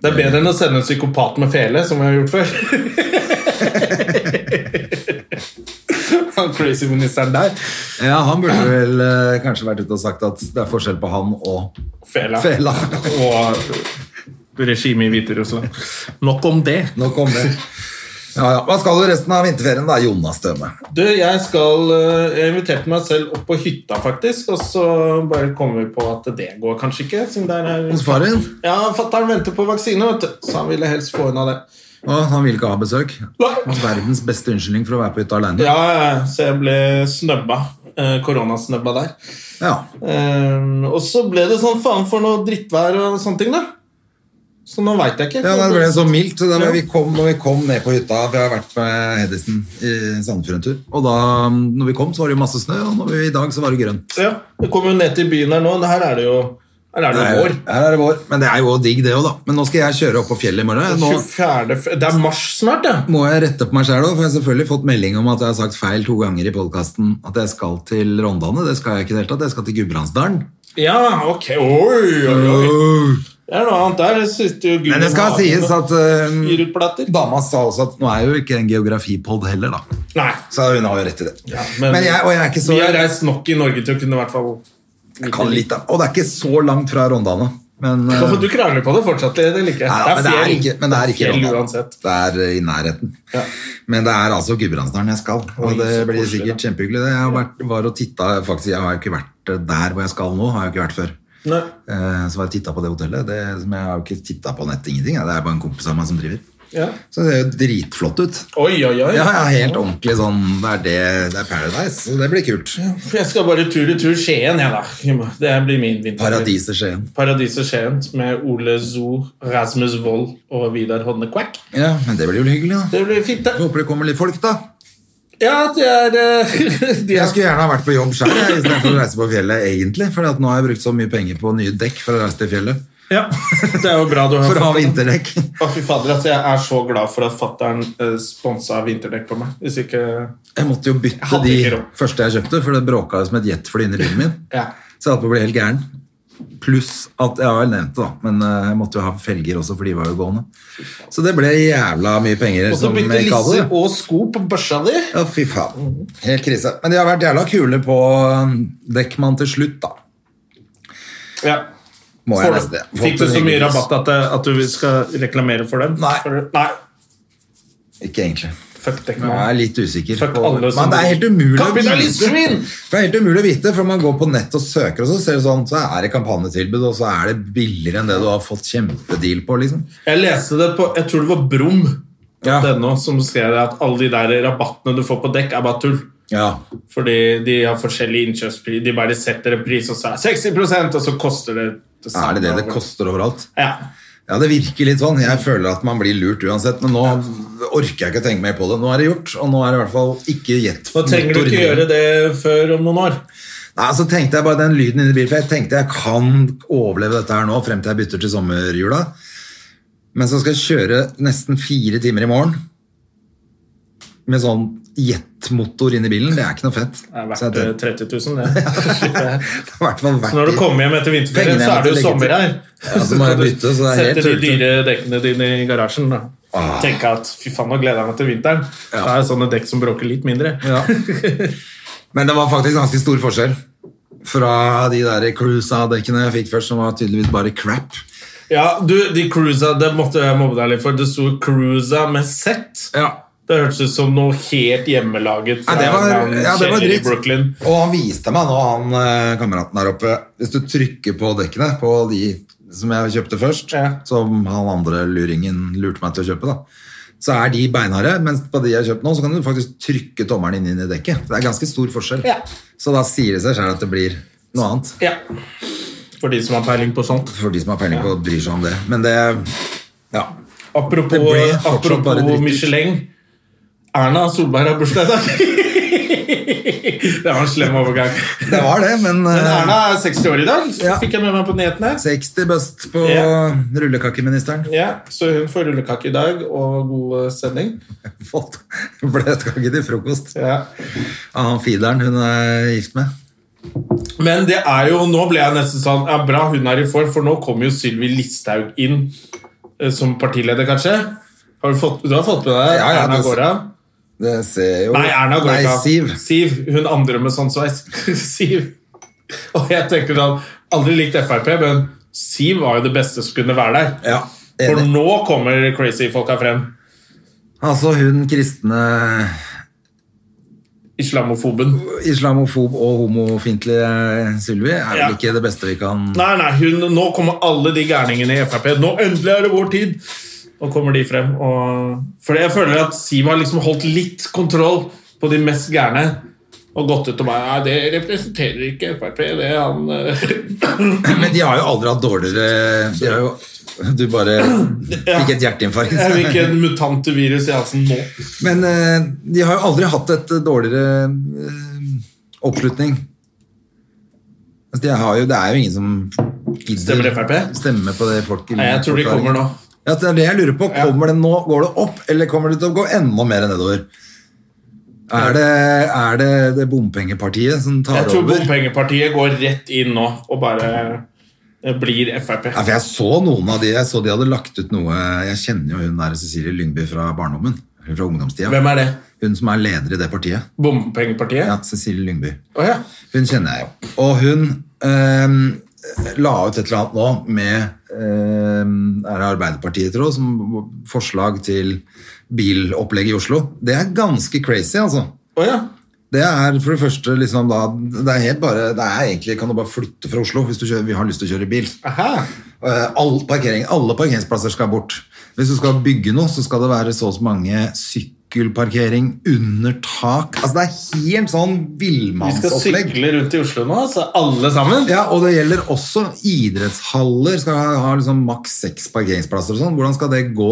A: Det er bedre enn å sende en psykopat med fele, som vi har gjort før. [laughs] Han crazy-ministeren der.
B: Ja, han burde vel eh, kanskje vært ute og sagt at det er forskjell på han og
A: Fela.
B: fela.
A: Og regimet i Hviterussland. Nok om det.
B: Nå kom det. Ja, ja. Hva skal du resten av vinterferien, da, Jonas Støme?
A: Du, jeg skal eh, Jeg inviterte meg selv opp på hytta, faktisk, og så bare kommer vi på at det går kanskje ikke. Siden der er
B: Hos faren?
A: Ja, fatter'n venter på vaksine, vet du. Så han ville helst få unna det.
B: Å, han vil ikke ha besøk.
A: Nei.
B: Verdens beste unnskyldning for å være på hytta aleine.
A: Ja, ja, så jeg ble snøbba. eh, Koronasnøbba der.
B: Ja.
A: Ehm, og så ble det sånn faen for noe drittvær og sånne ting, da. Så nå veit jeg ikke.
B: Ja, nei, det sånn. ble så mildt. Så da
A: Ja.
B: vi kom, når vi kom ned på hytta For jeg har vært med Hedisen i Sandefjord en tur. Og da når vi kom, så var det jo masse snø, og når vi, i dag så var det grønt.
A: Ja, det kommer jo ned til byen her nå. Det Her er det jo Her er det jo vår.
B: Her er det vår. Men det er jo digg, det òg, da. Men nå skal jeg kjøre opp på fjellet i morgen. Nå
A: 24. fe- Det er mars snart, ja.
B: må jeg rette på meg sjæl òg, for jeg har selvfølgelig fått melding om at jeg har sagt feil to ganger i podkasten at jeg skal til Rondane. Det skal jeg ikke i det hele tatt. Jeg skal til Gudbrandsdalen.
A: Ja, ok. Oi, oi, oi. Det er noe annet der. Det sitter jo Gud
B: Men det skal
A: i hagen
B: sies
A: og
B: at eh,
A: gir ut plater.
B: dama sa også at nå er jo ikke en geografipod heller, da.
A: Nei.
B: Så hun har jo rett i det.
A: men-
B: men, jeg, og jeg er ikke så
A: Vi har reist nok i Norge til å kunne i hvert fall
B: Jeg kan litt, da. Og det er ikke så langt fra Rondane. Men, eh,
A: Du krangler på det fortsatt. Det liker jeg.
B: nei, da, men det er
A: fjell.
B: ikke, men det er ikke
A: fjell
B: Rondane.
A: uansett.
B: Det er eh, i nærheten.
A: Ja.
B: Men det er altså Gudbrandsdalen jeg skal, og
A: Oi,
B: det
A: så
B: blir
A: koselig,
B: sikkert kjempehyggelig. det. Jeg har vært, var og tittet, faktisk, jeg har jo ikke vært eh, der hvor jeg skal nå, har jeg jo ikke vært før.
A: Nei.
B: Eh, Så har jeg tittet på det hotellet, det, som jeg har jo ikke tittet på nett, ingenting. ja. Det er bare en kompis av meg som driver.
A: Ja.
B: Så det ser jo dritflott ut.
A: Oi, oi, oi.
B: Ja, ja, helt ordentlig sånn, det er, det, det er paradise, så det blir kult.
A: Jeg skal bare tur i tur Skien, jeg, da. Det blir min vinter.
B: Paradiset Skien.
A: Paradiset Skien med Ole Zoo, Rasmus Wold og Vidar Hodne Quack.
B: Ja, men det blir jo hyggelig da.
A: Det blir fint, det.
B: Håper det kommer litt folk da.
A: Ja, det er eh, [laughs] de
B: Jeg
A: er
B: skulle gjerne ha vært på jobb selv, jeg, i stedet for å reise på fjellet egentlig, for at nå har jeg brukt så mye penger på nye dekk for å reise til fjellet.
A: ja. Det er jo bra du har
B: For å ha
A: fått det.
B: vinterdekk.
A: Å, fy fader, altså, jeg er så glad for at fattern sponsa vinterdekk på meg. Hvis ikke
B: Jeg måtte jo
A: Jeg
B: bytte
A: hadde
B: de
A: ikke råd.
B: første jeg kjøpte, for det bråka jo som et jetfly inni bilen min.
A: Ja.
B: Så jeg holdt på å bli helt gæren. Pluss at Jeg har vel nevnt det, da, men eh, jeg måtte jo ha felger også, for de var jo gående. Så det ble jævla mye penger.
A: Og så
B: som
A: bytte
B: jeg ikke hadde.
A: lisser og sko på børsa di.
B: Ja, fy faen. Helt krise. Men de har vært jævla kule på um, Dekkmann til slutt, da.
A: Ja.
B: Må jeg
A: Får
B: nesten
A: du-
B: det.
A: Fikk
B: Fått
A: du
B: en
A: så mye
B: hyggelig-
A: rabatt at, eh, at du skal reklamere for dem?
B: Nei.
A: For, nei.
B: Ikke egentlig.
A: Fuck
B: Jeg
A: Dekkmann.
B: er litt usikker.
A: Fuck
B: på-
A: alle som-
B: Men det er helt umulig å
A: Kapitalistsvin!
B: vite. Det er helt umulig å vite, for man går på nett og søker, og så ser du sånn, så er det kampanjetilbud, og så er det billigere enn det du har fått kjempedeal på, liksom.
A: Jeg leste det på Jeg tror det var Brum.
B: Ja.
A: Denne, som skrev at alle de der rabattene du får på dekk, er bare tull.
B: Ja.
A: Fordi de har forskjellig innkjøpspris. De bare setter en pris og så er det 60 og så koster det det
B: Er det det det
A: samme.
B: koster overalt?
A: Ja.
B: Ja, det virker litt sånn. Jeg føler at man blir lurt uansett, men nå orker jeg ikke å tenke mer på det. Nå er det gjort, og nå er det i hvert fall ikke jet.
A: Nå trenger du ikke gjøre det før om noen år.
B: Nei, så tenkte jeg bare den lyden inni bilen, for jeg tenkte jeg kan overleve dette her nå, frem til jeg bytter til sommerhjula. Men så skal jeg kjøre nesten fire timer i morgen, med sånn jetmotor inni bilen, det er ikke noe fett.
A: Det er
B: Så jeg
A: verdt eh,
B: tenkte,
A: 30
B: [laughs]
A: 000, det.
B: det er i hvert fall
A: Så når du
B: verdt det.
A: kommer hjem etter vinterferien,
B: Pengene
A: så er det
B: jeg
A: jo
B: måtte
A: sommer her.
B: legge Ja, så må jeg
A: kan du
B: bytte, så det er helt
A: Sette de
B: tullete.
A: dyre dekkene dine i garasjen. da.
B: Ah.
A: Tenke at fy faen, nå gleder jeg meg til vinteren. Da er det sånne dekk som bråker litt mindre.
B: Men det var faktisk ganske stor forskjell fra de der cruisa-dekkene jeg fikk først, som var tydeligvis bare crap.
A: Ja, du, de cruisa, det måtte jeg mobbe deg litt for. Det sto cruisa med Z. Det hørtes ut som noe helt hjemmelaget
B: Ja,
A: fra
B: det var-
A: en
B: ja, det var
A: kjeller i
B: dritt.
A: Brooklyn.
B: Og han viste meg nå, han eh, kameraten der oppe Hvis du trykker på dekkene På de som jeg kjøpte først
A: Ja.
B: Som han andre luringen lurte meg til å kjøpe da Så er de beinharde Mens på de jeg har kjøpt nå Så kan du faktisk trykke tommeren din inn i dekket Det er ganske stor forskjell
A: Ja.
B: Så da sier det seg selv at det blir noe annet
A: Ja. For de som har peiling på sånt.
B: For de som har peiling på å bry seg om det Men det, ja Det
A: Apropos,
B: ble fortsatt bare
A: apropos
B: dritt.
A: Michelin. Erna Solberg har bursdag i dag. [laughs] det var en slem overgang.
B: det var det Men, eh,
A: Men Erna er 60 år i dag,
B: Ja.
A: fikk jeg med meg på nyhetene.
B: 60 bøst på
A: Ja.
B: rullekakkeministeren
A: Ja, så hun får rullekake i dag, og god eh, sending.
B: Fått [laughs] bløtkake til frokost
A: Ja.
B: Av han fideren hun er gift med
A: Men det er jo, nå ble jeg nesten sånn ja, Bra hun er i form, for nå kommer jo Sylvi Listhaug inn eh, som partileder, kanskje. Har du, fått, du har fått med deg
B: Ja, ja,
A: Erna
B: det-
A: går av?
B: Det ser jo
A: Nei, Erna går
B: Nei,
A: ikke av.
B: Siv.
A: Siv. Hun andre med sånn sveis. [laughs] Siv. Og jeg tenker sånn Aldri likt Frp, men Siv var jo det beste som kunne være der.
B: Ja,
A: For
B: enig.
A: nå kommer crazy-folka frem.
B: Altså hun kristne,
A: Islamofoben.
B: islamofob og homofintlige Sylvi er vel
A: Ja.
B: ikke det beste vi kan
A: Nei, nei, hun, nå kommer alle de gærningene i Frp. Nå endelig er det vår tid! Nå kommer de frem. Og, for jeg føler at Siv har liksom holdt litt kontroll på de mest gærne. Og gått ut og bare Nei, det representerer ikke Frp. Det er han eh." [clears throat]
B: Men de har jo aldri hatt dårligere de har jo, Du bare
A: Ja.
B: fikk et
A: Jeg vil
B: hjerteinfarkt.
A: ikke en mutante Eh, virus i halsen nå.
B: Men eh, de har jo aldri hatt et dårligere eh, oppslutning. Altså, de har jo, det er jo ingen som gidder
A: Stemmer det, FrP?
B: stemme på det folk
A: Nei, jeg tror de kommer nå.
B: Ja, det er det jeg lurer på.
A: Ja.
B: Kommer det nå, går det opp, eller kommer det til å gå enda mer nedover? Er det, er det det bompengepartiet som tar
A: Jeg tror
B: over?
A: bompengepartiet går rett inn nå og bare eh, blir Frp.
B: Ja, for jeg så noen av de, jeg så de hadde lagt ut noe Jeg kjenner jo hun der Cecilie Lyngby fra barndommen. eller Fra ungdomstida.
A: Hvem er det?
B: Hun som er leder i det partiet.
A: Bompengepartiet?
B: Ja, Cecilie Lyngby.
A: Å ja.
B: Hun kjenner jeg jo. Og hun øhm, ehm, la ut et eller annet nå med eh, er det Arbeiderpartiet, tror jeg, som forslag til bilopplegg i Oslo. Det er ganske crazy, altså.
A: Å ja.
B: Det er for det første liksom da Det er helt bare Det er egentlig Kan du bare flytte fra Oslo hvis du kjører, vi har lyst til å kjøre bil.
A: Aha.
B: Eh, All parkering, alle parkeringsplasser skal bort. Hvis du skal bygge noe, så skal det være så og så mange sykkelparkering under tak. Altså Det er helt sånn
A: Vi skal
B: villmannsopplegg.
A: sykle rundt i Oslo nå, så alle sammen.
B: Ja, og det gjelder også idrettshaller. Skal ha, ha liksom maks seks parkeringsplasser og sånn. Hvordan skal det gå?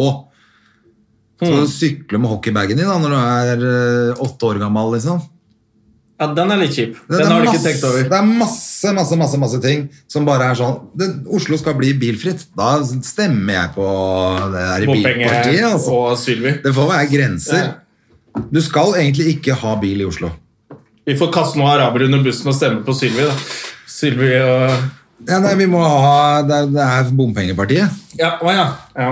A: Hmm.
B: Skal du sykle med hockeybagen din da når du er eh, åtte år gammel? liksom?
A: Ja, den er litt kjip.
B: Det, det
A: Den
B: er
A: har du ikke
B: masse-
A: tenkt over.
B: Det er masse, masse, masse, masse ting som bare er sånn det, Oslo skal bli bilfritt. Da stemmer jeg på det der bilpartiet.
A: Bompenger
B: Altså.
A: og Sylvi.
B: Det får være grenser. Du skal egentlig ikke ha bil i Oslo.
A: Vi får kaste noen arabere under bussen og stemme på Sylvi, da. Sylvi og
B: Ja, nei, vi må ha, det, er- det er bompengepartiet.
A: Ja, å ja. ja.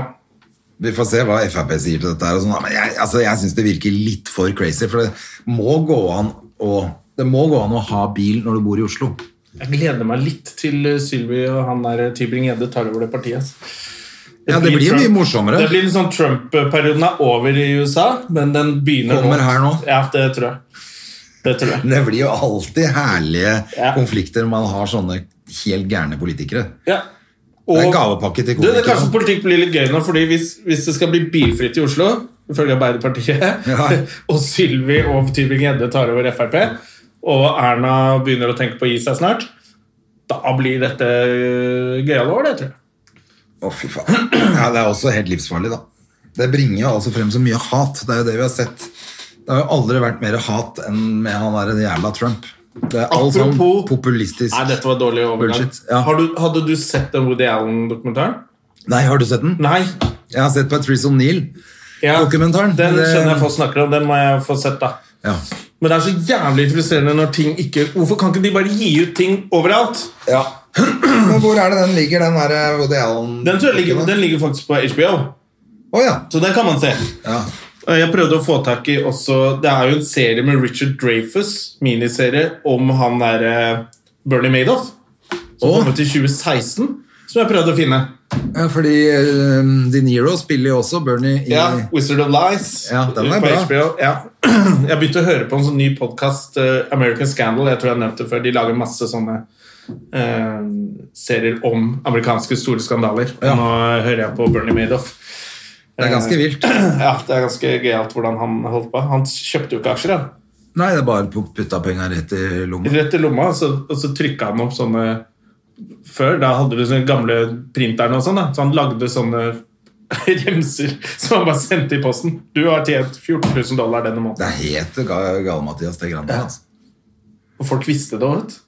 B: Vi får se hva Frp sier til dette. her og sånn, da, men jeg, altså, jeg syns det virker litt for crazy. For det må gå an å, det må gå an å ha bil når du bor i Oslo.
A: Jeg gleder meg litt til eh, Sylvi og han der Tybring-Gjedde tar over det partiet. ass.
B: Ja, det blir jo
A: Trump-
B: mye morsommere.
A: Det blir litt sånn Trump-perioden er over i USA, men den begynner
B: Kommer her nå.
A: Ja, det tror jeg. Det tror jeg.
B: Men Det blir jo alltid herlige
A: Ja.
B: konflikter når man har sånne helt gærne politikere.
A: Ja.
B: Det er en
A: Og-
B: gavepakke til
A: Du, det er kanskje
B: komikere.
A: politikk blir litt gøy nå, fordi hvis, hvis det skal bli bilfritt i Oslo, ifølge Arbeiderpartiet,
B: Ja.
A: [laughs] og Sylvi og Tybring-Gjedde tar over Frp, og Erna begynner å tenke på å gi seg snart, da blir dette eh, gøyale år, det tror jeg.
B: Å, fy faen. Ja, det er også helt livsfarlig, da. Det bringer jo altså frem så mye hat. Det er jo det vi har sett. Det har jo aldri vært mer hat enn med han der jævla Trump. Det er all sånn
A: Apropos-
B: populistisk
A: Nei, dette var dårlig overgang.
B: Bullshit, ja.
A: Har du, hadde du sett den Woody Allen-dokumentaren?
B: Nei, har du sett den?
A: Nei.
B: Jeg har sett Patrice O'Neill.
A: Ja,
B: Dokumentaren,
A: Den
B: det-
A: skjønner jeg folk snakker om. Den må jeg få sett, da.
B: Ja.
A: Men det er så jævlig frustrerende når ting ikke Hvorfor kan ikke de bare gi ut ting overalt?
B: Ja. [clears throat] Men hvor er det den ligger, den der eh, Woody Allen?
A: Den, tror jeg ligger, den ligger faktisk på HBO,
B: Å ja.
A: så den kan man se.
B: ja.
A: Og Jeg prøvde å få tak i også Det er jo en serie med Richard Dreyfus, miniserie om han derre Bernie Madoff, som
B: Å.
A: kom ut i 2016, som jeg prøvde å finne.
B: ja fordi eh, De Niro spiller jo også Bernie i
A: Ja, Wizard of Lies.
B: Ja, den er
A: på
B: bra.
A: HBO. Ja. [clears throat] Jeg begynte å høre på en sånn ny podkast, American Scandal. Jeg tror jeg har nevnt det før. De lager masse sånne eh, serier om amerikanske store skandaler. Og
B: Ja.
A: Nå eh, hører jeg på Bernie Madoff. [clears throat]
B: Det er ganske vilt.
A: Ja, Det er ganske gøyalt hvordan han holdt på. Han kjøpte jo ikke aksjer. da.
B: [clears throat] Nei, det er bare å putta penga rett i lomma.
A: Rett i lomma, så, og så trykka han opp sånne Før da hadde du sånne gamle printerne og sånn, da. så han lagde sånne [laughs] remser som han bare sendte i posten. Du har tjent 14 000 dollar denne måneden.
B: Det er helt ga- Gale-Mathias det grann der, altså.
A: Og folk visste det òg, vet du.
B: Ja,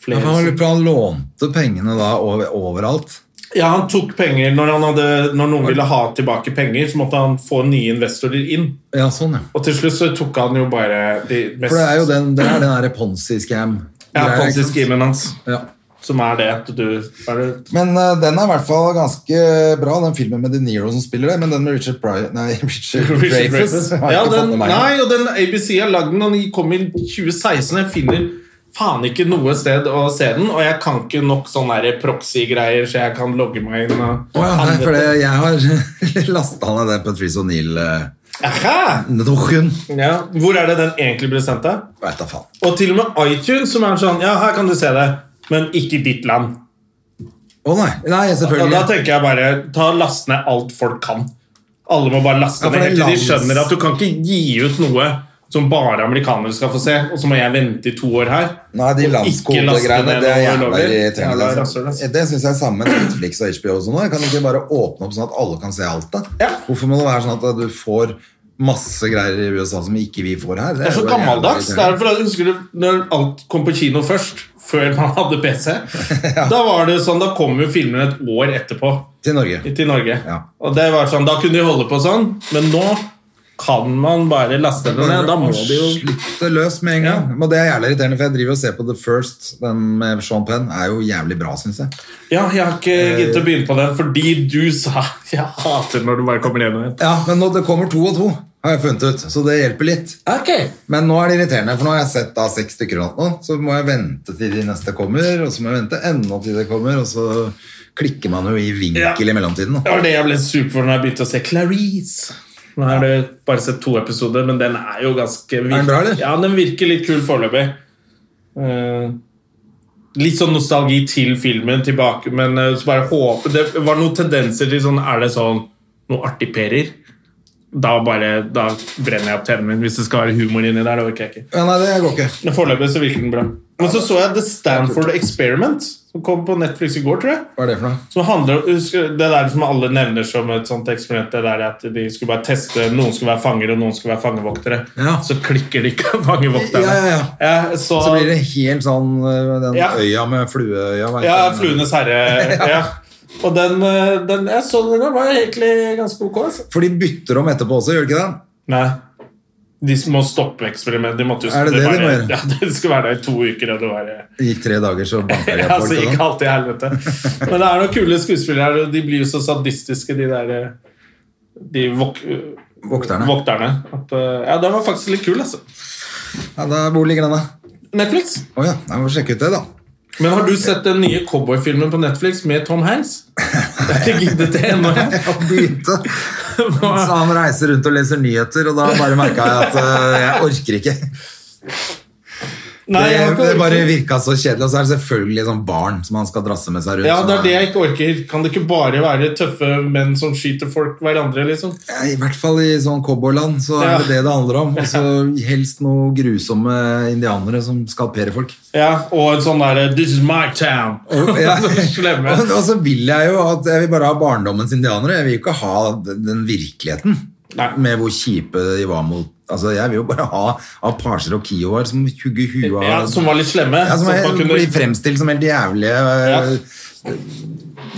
A: Flere
B: for han,
A: som-
B: for han lånte pengene da over, overalt.
A: Ja, han tok penger når, han hadde, når noen ville ha tilbake penger, så måtte han få nye investorer inn.
B: Ja, sånn, ja.
A: Og til slutt så tok han jo bare de mest
B: For det er jo den, det er den derre Ponzi-scam.
A: ja,
B: Greier, ikke sant?
A: Ponzi-schemen hans,
B: Ja.
A: som er det at du er
B: [laughs]
A: det,
B: Men eh, den er i hvert fall ganske bra, den filmen med De Niro som spiller det, men den med Richard Pryor Nei, [laughs] Richard,
A: Richard
B: Dreyfuss.
A: Dreyfuss.
B: har jeg
A: Ja,
B: ikke fått
A: den,
B: med meg.
A: nei, og den ABC har lagd den, og den kom i 2016. Jeg finner faen ikke noe sted å se den, og jeg kan ikke nok sånne der proxy-greier, så jeg kan logge meg inn. Og
B: Å ja, nei, for det, jeg har [laughs] lasta ned det eh. Patrice O'Neill-dokken.
A: Aha! Ja, Hvor er det den egentlig ble sendt av?
B: Veit da faen.
A: Og til og med iTunes, som er sånn Ja, her kan du se det, men ikke i ditt land.
B: Å nei. Nei,
A: Og da
B: selvfølgelig.
A: tenker jeg bare Ta og last ned alt folk kan. Alle må bare laste
B: Ja, for
A: ned
B: det er
A: helt til de
B: lands-
A: skjønner at du kan ikke gi ut noe som bare amerikanere skal få se, og så må jeg vente i to år her.
B: Nei, de
A: og ikke laste
B: landskodegreiene,
A: ned
B: det er
A: noe
B: jævla
A: ulovlig.
B: irriterende.
A: Jævla
B: Det,
A: rasshøl, ass.
B: altså. det syns jeg er samme med Netflix og HBO og sånn. Jeg Kan ikke bare åpne opp sånn at alle kan se alt, da?
A: Ja.
B: Hvorfor må det være sånn at du får masse greier i USA som ikke vi får her?
A: Det er
B: jo
A: så
B: jævla
A: gammeldags. Det
B: irriterende.
A: er for at Husker du når alt kom på kino først? Før man hadde PC? Da var det sånn, da kom jo filmene et år etterpå.
B: Til Norge.
A: til Norge.
B: Ja.
A: Og det var sånn, Da kunne de holde på sånn, men nå kan man bare laste det ned. eh, Da må de jo
B: Slippe det løs med en gang. Men det er jævlig irriterende, for jeg driver og ser på The First. Den med Sean Penn er jo jævlig bra, syns jeg.
A: Ja, jeg har ikke
B: Eh.
A: giddet [laughs] å begynne på den fordi du sa Jeg hater når du bare kommer hjem igjen.
B: Ja, men nå, det kommer to og to. har jeg funnet ut, så det hjelper litt.
C: Ok.
B: Men nå er det irriterende, for nå har jeg sett da 60 stykker nå, så må jeg vente til de neste kommer, og så må jeg vente enda til det kommer, og så klikker man jo i vinkel
A: Ja.
B: i mellomtiden.
A: Det
B: Da.
A: var det jeg ble sur for når jeg begynte å se Clarice. Nå har jeg bare sett to episoder, men den er jo ganske
B: den bra, eller?
A: Ja, den virker litt kul foreløpig. Eh, litt sånn nostalgi til filmen tilbake, men eh, så bare håpe Det var noen tendenser til sånn Er det sånn noe artig perer? Da bare Da brenner jeg opp TV-en min hvis det skal være humor inni der. Det orker jeg ikke.
B: Ja, nei, det går ikke.
A: Men foreløpig så virker den bra. Men så så jeg The Stanford Experiment, som kom på Netflix i går, tror jeg.
B: Hva er det for noe?
A: Som handler, husker du, det der som alle nevner som et sånt eksperiment, det der at de skulle bare teste Noen skulle være fanger, og noen skulle være fangevoktere.
B: Ja.
A: Så klikker de ikke [laughs] av fangevokterne.
B: Ja, ja, ja.
A: så,
B: Så blir det helt sånn øh, den
A: Ja.
B: øya med flueøya. vet
A: Ja,
B: du.
A: Fluenes
B: [laughs]
A: herre. ja. Og den, eh, den jeg så den, den var egentlig ganske ok. Altså.
B: For de bytter om etterpå også, gjør de ikke det?
A: Nei. De må stoppe eksperimentet. De måtte jo
B: Er det det de
A: bare,
B: må gjøre?
A: [laughs] Ja, det skulle være der i to uker. Og det var, eh,
B: Det gikk tre dager, så banka de
A: [laughs] ja,
B: opp
A: så
B: folk. og
A: gikk
B: sånn.
A: alt i helvete. Men det er noen kule skuespillere her, og de blir jo så sadistiske, de der eh, De vok
B: Vokterne.
A: vokterne. At, eh, ja, den var faktisk litt kul, altså.
B: Ja, da, hvor ligger den, da?
A: Netflix.
B: Å ja, jeg må sjekke ut det, da.
A: Men har du sett den nye cowboyfilmen på Netflix med Tom Hanks? [laughs] Jeg har ikke giddet det
B: [laughs]
A: ennå. jeg.
B: Jeg begynte.
A: [laughs] Hva?
B: Så han reiser rundt og leser nyheter, og da bare merka jeg at øh, jeg orker ikke.
A: Nei, jeg har
B: det,
A: ikke
B: det bare
A: orket.
B: virka så kjedelig. Og så er det selvfølgelig sånn barn som han skal drasse med seg rundt.
A: ja, det er
B: som
A: det jeg ikke orker. Kan det ikke bare være tøffe menn som skyter folk hverandre, liksom?
B: Ja, I hvert fall i sånn cowboyland, så
A: Ja.
B: er det det det handler om. Og så
A: [laughs]
B: helst noen grusomme indianere som skalperer
A: [laughs]
B: folk.
A: Ja, og en sånn derre This is my town.
B: Og, ja.
A: [laughs] Slemme.
B: og, og så vil jeg jo at jeg vil bare ha barndommens indianere. Jeg vil jo ikke ha den den virkeligheten
A: Nei.
B: med hvor kjipe de var mot Altså, Jeg vil jo bare ha apasjer og kioer som hugger huet av
A: Ja, som var litt slemme.
B: Ja, som
A: sånn at
B: er-
A: man kunne-
B: blir fremstilt som helt jævlige
A: Ja.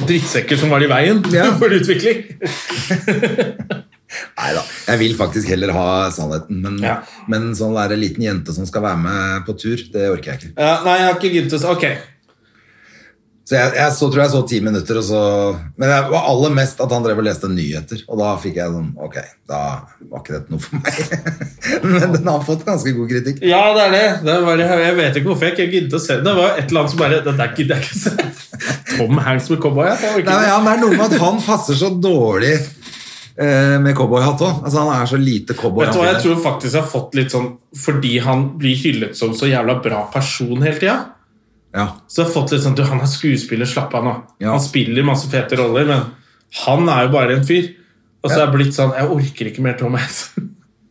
A: drittsekker som var i [laughs] veien
B: Ja.
A: for utvikling.
B: Nei da. Jeg vil faktisk heller ha sannheten, men,
A: Ja.
B: men sånn der liten jente som skal være med på tur, det orker jeg ikke.
A: Ja, nei, jeg har ikke giddet å s- Ok.
B: Så jeg, jeg så, tror jeg så ti minutter, og så Men jeg var aller mest at han drev og leste nyheter. Og da fikk jeg sånn Ok, da var ikke dette noe for meg. [laughs] Men den har fått ganske god kritikk.
A: Ja, det er det. det var, jeg vet ikke hvorfor jeg ikke giddet å se det. Det var et eller annet som bare Dette gidder jeg ikke å se. [laughs] Tom Hanks med cowboy. ja, Jeg orker
B: Nei, men
A: ikke.
B: ja, Det er noe med at han passer så dårlig eh, med cowboyhatt òg. Altså, han er så lite cowboy.
A: Vet du hva, jeg tror faktisk jeg har fått litt sånn Fordi han blir hyllet som så jævla bra person hele tida.
B: Ja.
A: Så jeg har fått litt sånn Du, han er skuespiller, slapp av nå.
B: Ja.
A: Han spiller masse fete roller, men han er jo bare en fyr. Og så er jeg blitt sånn Jeg orker ikke mer Tom Hanks.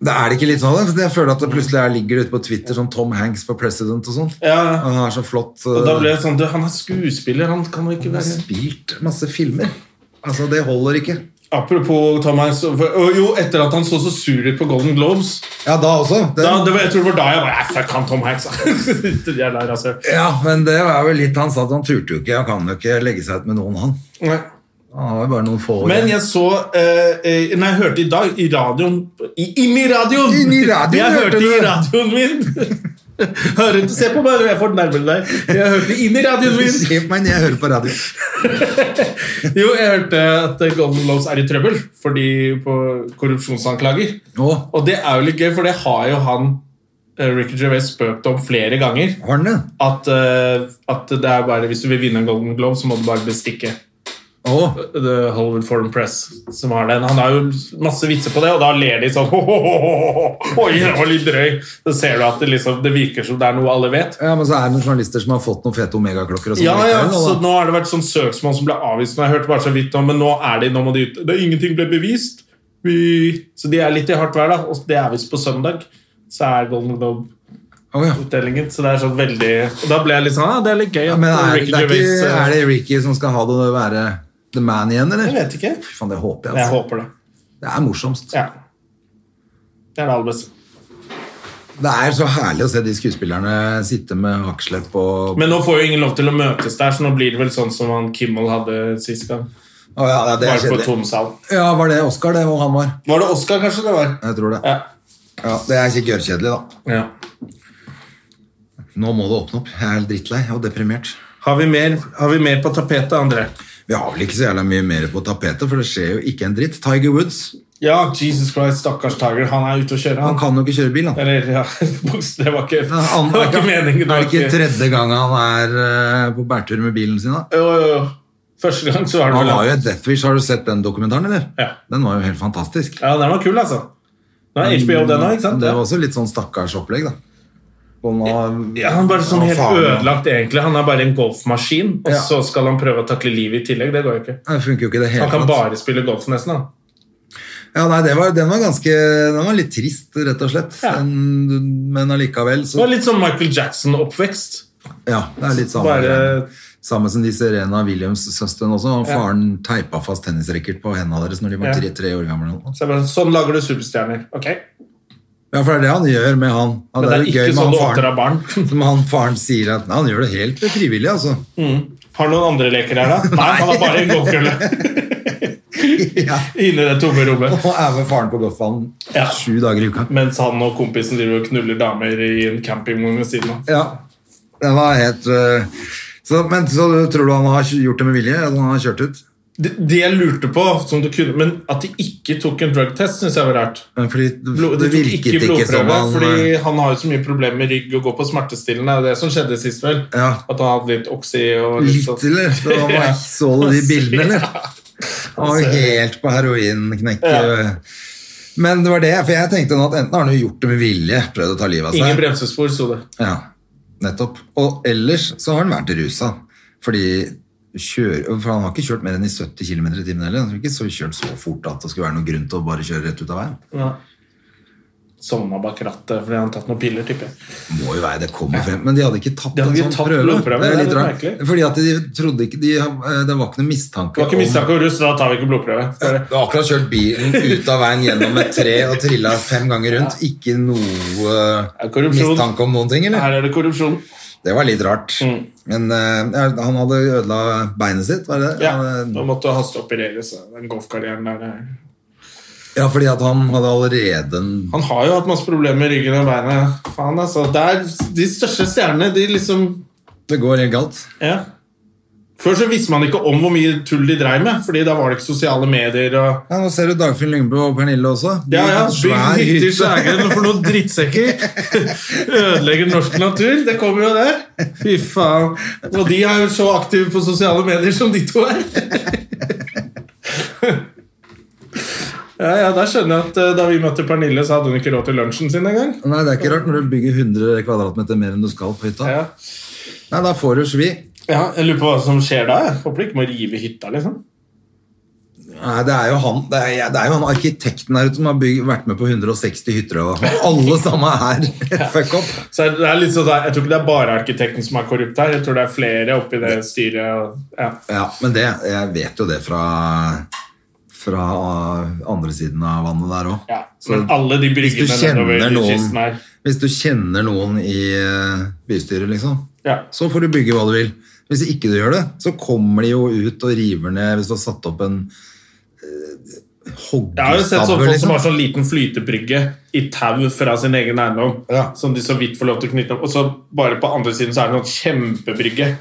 B: Det er det ikke litt sånn, da? for jeg føler at det plutselig er- ligger det ute på Twitter sånn Tom Hanks for president og sånn.
A: [laughs] Ja,
B: Han er så flott.
A: og da
B: eh,
A: ble jeg sånn Du, han er skuespiller, han kan jo ikke
B: Han har
A: være
B: spilt masse filmer. Altså, det holder ikke.
A: Apropos Tom Hanks for, og Jo, etter at han så så sur ut på Golden Globes
B: Ja, da også. Den-
A: da, det var, Jeg tror det var da jeg bare "Nei, Fuck han Tom Hanks, [laughs] altså. da." Jævla rasshøl.
B: Ja, men det er jo litt han sa at han turte jo ikke. Han kan jo ikke legge seg ut med noen, han.
A: Nei.
B: Han har jo bare noen få år
A: Men
B: igjen.
A: jeg så eh, eh, Nei, jeg hørte i dag i radioen i, Inni radioen!
B: Inni radioen
A: jeg
B: hørte
A: hørte
B: du
A: i
B: det.
A: radioen min! [laughs] Hører du Se på meg, jeg får nærmere deg. Jeg hørte inni radioen min!
B: [laughs] Se på meg når jeg hører på radio.
A: Jo, jeg hørte at Golden Globes er i trøbbel fordi på korrupsjonsanklager.
B: Å,
A: Og det er jo litt gøy, for det har jo han eh, Ricky Gervais spøkt om flere ganger.
B: har han det?
A: At, eh, at det er bare hvis du vil vinne en Golden Globe, så må du bare bestikke
B: Å,
A: The Hollywood Foreign Press som har den. Han har jo masse vitser på det, og da ler de sånn [laughs] «Ho, ho, ho, ho, ho, ho, Oi, det var litt drøy. Så ser du at det, liksom, det virker som det er noe alle vet.
B: ja, men så er det noen journalister som har fått noen fete omegaklokker og sånn.
A: Ja, ja,
B: likevel,
A: så
B: da.
A: Nå har det vært sånn søksmål som ble avvist. Nå har jeg hørt bare så vidt om, men nå er de, nå må de ut. Det, ingenting ble bevist. Vi, så de er litt i hardt vær, da. Og det er visst på søndag. Så er Golden
B: Å, ja.
A: Globe-utdelingen. Så det er sånn veldig og Da ble jeg litt sånn Ja, det er litt gøy.
B: Ja,
A: at
B: men er,
A: Ricky
B: det er,
A: Gervais,
B: ikke,
A: eh,
B: er det Ricky som skal ha det å være the man igjen,
A: Jeg
B: eller?
A: vet ikke.
B: Fy faen, det håper jeg.
A: Jeg
B: Altså.
A: håper det.
B: Det er morsomst.
A: Ja. Det er det aller beste.
B: Det er så herlig å se de skuespillerne sitte med hakeslepp og
A: Men nå får jo ingen lov til å møtes der, så nå blir det vel sånn som han Kimmel hadde sist gang.
B: Å, ja, ja, det er
A: Bare på
B: kjedelig.
A: tom sal.
B: Ja, var det Oscar, det, hvor han var?
A: Var det Oscar, kanskje? det var?
B: Jeg tror det.
A: Ja.
B: Ja, det er ikke gørrkjedelig, da.
A: ja.
B: Nå må det åpne opp. Jeg er drittlei og deprimert.
A: Har, vi mer, har vi mer på tapetet, André?
B: Vi har vel ikke så jævla mye mer på tapetet, for det skjer jo ikke en dritt. Tiger Woods
A: Ja, Jesus Christ, stakkars Tiger. Han er ute å kjøre,
B: Han
A: han.
B: kan jo ikke kjøre bil, han.
A: Eller, ja, det var ikke, [laughs] det
B: Han-
A: var ikke meningen. det
B: er det
A: var
B: ikke tredje gang han er eh, på bærtur med bilen sin? da?
A: Jo, jo, jo. Første gang så var det
B: Han
A: vel
B: var jo et Death Wish, har du sett den dokumentaren, eller?
A: Ja.
B: Den var jo helt fantastisk.
A: Ja, den var kul, altså. Den er HBO, den òg, ikke sant?
B: Det var også litt sånn stakkars opplegg, da. Og nå-
A: Ja, han er bare sånn
B: Å,
A: helt
B: faen, ja.
A: ødelagt, egentlig. Han er bare en golfmaskin, og
B: Ja.
A: så skal han prøve å takle livet i tillegg. Det går jo ikke.
B: Det funker jo ikke i det hele
A: Han kan
B: tatt.
A: bare spille golf, nesten. han.
B: Ja, nei, det var, den var ganske Den var litt trist, rett og slett.
A: Ja.
B: Den, men allikevel
A: Det
B: så
A: var litt sånn Michael Jackson-oppvekst.
B: Ja, det er litt samme
A: Bare
B: greie. Samme som de Serena Williams-søstrene også. Og faren teipa fast tennisracket på hendene deres når de var
A: Ja.
B: tre, tre år gamle. eller noe.
A: så jeg bare, Sånn lager du superstjerner. Ok.
B: Ja, for det er det han gjør med han. Ja,
A: Men det er
B: jo gøy
A: ikke
B: med
A: sånn
B: han
A: du oppdrar
B: faren.
A: barn. [laughs]
B: Som han faren sier at nei, han gjør det helt frivillig, altså.
A: [laughs] Har du noen andre leker her,
B: [laughs]
A: da? Nei, han har bare en golfkølle.
B: Ja.
A: Inni det tomme rommet.
B: Og er med faren på golfbanen
A: Ja.
B: sju dager i uka.
A: Mens han og kompisen driver og knuller damer i en campingvogn ved siden av.
B: Ja, den var helt øh, så, Men så tror du han har gjort det med vilje? At han har kjørt ut?
A: Det, det jeg lurte på, som du kunne, men at de ikke tok en drugtest, syns jeg var rart.
B: Men Fordi det,
A: Blod, de
B: det
A: tok
B: virket
A: ikke
B: ikke,
A: blodprøve,
B: som han eh,
A: fordi han har jo så mye problemer med rygg og går på smertestillende. Det er det som skjedde sist, vel?
B: Ja.
A: At han hadde litt oxy og litt
B: Litt,
A: sånn.
B: eller?
A: [laughs]
B: Så han var,
A: Ja.
B: så du de bildene, eller?
A: Ja. Altså-
B: Han var jo helt på heroinknekk.
A: Ja.
B: Men det var det, for jeg tenkte nå at enten har han jo gjort det med vilje, prøvd å ta livet av seg
A: Ingen bremsespor, sto det.
B: Ja, nettopp. Og ellers så har han vært rusa. Fordi kjør, for han har ikke kjørt mer enn i 70 km i timen heller. Han har ikke så kjørt så fort at det skulle være noen grunn til å bare kjøre rett ut av veien.
A: Sovna bak rattet fordi han har tatt noen piller, tipper jeg.
B: Må jo være, det kommer frem. Men de hadde ikke tatt
A: De hadde
B: en
A: ikke
B: sånn
A: tatt
B: prøve.
A: blodprøve,
B: Det er
A: det er
B: litt
A: litt
B: rart.
A: merkelig.
B: Fordi at de trodde ikke de, eh, Det var ikke noe mistanke.
A: Det var ikke
B: om-
A: mistanke om russ, da tar vi ikke blodprøve. Bare,
B: Du har akkurat kjørt bilen ut av veien gjennom et tre og trilla fem ganger rundt. Ikke noe
A: Er korrupsjon.
B: mistanke om noen ting, eller?
A: Her er Mm. det korrupsjon.
B: Det var litt rart. Men eh, ja, han hadde ødela beinet sitt, var det det?
A: Ja,
B: Han, eh,
A: Nå måtte han opereres. Den golfkarrieren der er
B: ja fordi at han hadde allerede en
A: Han har jo hatt masse problemer med ryggen og beinet. Faen, altså. Det er de største stjernene, de liksom
B: Det går helt galt.
A: Ja. Før så visste man ikke om hvor mye tull de dreiv med, fordi da var det ikke sosiale medier og
B: Ja, nå ser du Dagfinn Lyngbø og Pernille også. De
A: Ja, ja,
B: har en svær
A: bygg hytter,
B: hytte.
A: skjære, men for noen
B: [laughs]
A: drittsekker! Ødelegger norsk natur. Det kommer jo, det. Fy faen. Og de er jo så aktive på sosiale medier som de to er. [laughs] Ja, ja, da skjønner jeg at eh, Da vi møtte Pernille, så hadde hun ikke råd til lunsjen sin engang.
B: Nei, det er ikke rart når du bygger 100 kvadratmeter mer enn du skal på hytta.
A: Ja.
B: Nei, da får du svi.
A: Ja, jeg lurer på hva som skjer da. jeg. Håper de ikke må rive hytta, liksom.
B: Nei, det er jo han, det er, det er jo han arkitekten der ute som har bygg- vært med på 160 hytter, og [laughs] alle sammen er [laughs] fuck up.
A: Så det er litt sånn, at Jeg tror ikke det er bare arkitekten som er korrupt her. Jeg tror det er flere oppi det styret. og- Ja.
B: Ja, men det, jeg vet jo det fra, fra andre siden av vannet der òg.
A: Ja. Men alle de
B: Mm. hvis du
A: bryggene nedover
B: kjenner
A: kysten
B: noen,
A: her
B: hvis du kjenner noen i eh, bystyret, liksom,
A: Ja.
B: så får du bygge hva du vil. Hvis ikke du gjør det, så kommer de jo ut og river ned hvis du har satt opp en eh,
A: Jeg har jo sett
B: hoggestabbur.
A: sånn folk som
B: Liksom.
A: har sånn liten flytebrygge i tau fra sin egen eiendom.
B: Ja.
A: Som de så vidt får lov til å knytte opp. Og så bare på andre siden så er det sånn kjempebrygge.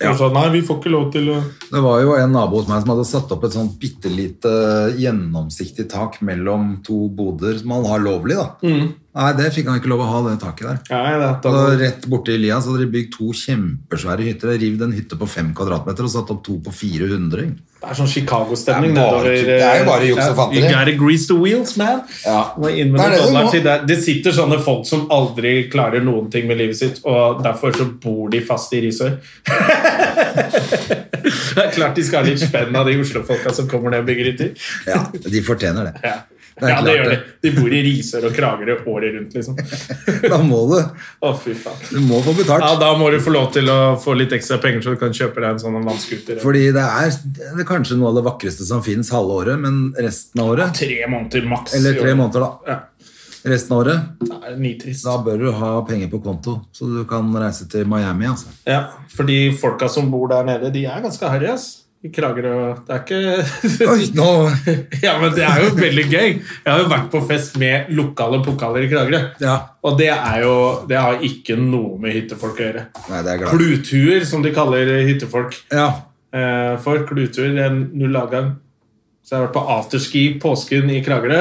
B: Ja.
A: Og så, nei, vi får ikke lov til å
B: Det var jo en nabo hos meg som hadde satt opp et sånt bitte lite gjennomsiktig tak mellom to boder som han har lovlig, da. Nei, det fikk han ikke lov å ha, det taket der.
A: Nei, det,
B: Og da,
A: Mm. da,
B: rett borte i lia så hadde de bygd to kjempesvære hytter. Rivd en hytte på fem kvadratmeter og satt opp to på 400.
A: det er sånn Chicago-stemning
B: Det er bare-
A: nedover eh,
B: det er jo bare juks og
A: ja, You
B: fanteri.
A: gotta grease the wheels, man.
B: Ja.
A: Må inn med
B: Det er
A: noen
B: det du
A: dollar
B: må.
A: til der. Det sitter sånne folk som aldri klarer noen ting med livet sitt, og derfor så bor de fast i Risør. [laughs] det er klart de skal ha litt spenn av de Oslo-folka som kommer ned og bygger hytter.
B: Ja, de fortjener det.
A: Ja.
B: Det er
A: ja, det
B: klart
A: gjør de.
B: det.
A: De bor i Risør og Kragerø året rundt, liksom.
B: Da må du,
A: Å, fy faen.
B: du må få betalt.
A: Ja, da må du få lov til å få litt ekstra penger, så du kan kjøpe deg en sånn vannskuter.
B: Fordi det er, det er kanskje noe av det vakreste som finnes halve året, men resten av året
A: Tre måneder maks.
B: Eller
A: i
B: tre
A: år.
B: måneder, da.
A: Ja.
B: Resten av året.
A: Det er nitrist.
B: Da bør du ha penger på konto, så du kan reise til Miami. altså.
A: Ja, fordi folka som bor der nede, de er ganske harry, ass. I Kragerø Det er ikke [laughs]
B: Oi, nå
A: Ja, men det er jo veldig gøy. Jeg har jo vært på fest med lokale pokaler i Kragerø.
B: Ja.
A: Og det er jo Det har ikke noe med hyttefolk å gjøre.
B: Nei, det er jeg glad. i.
A: Kluthuer, som de kaller hyttefolk.
B: Ja.
A: Eh, for kluthuer er null avgang. Så jeg har vært på afterski påsken i Kragerø.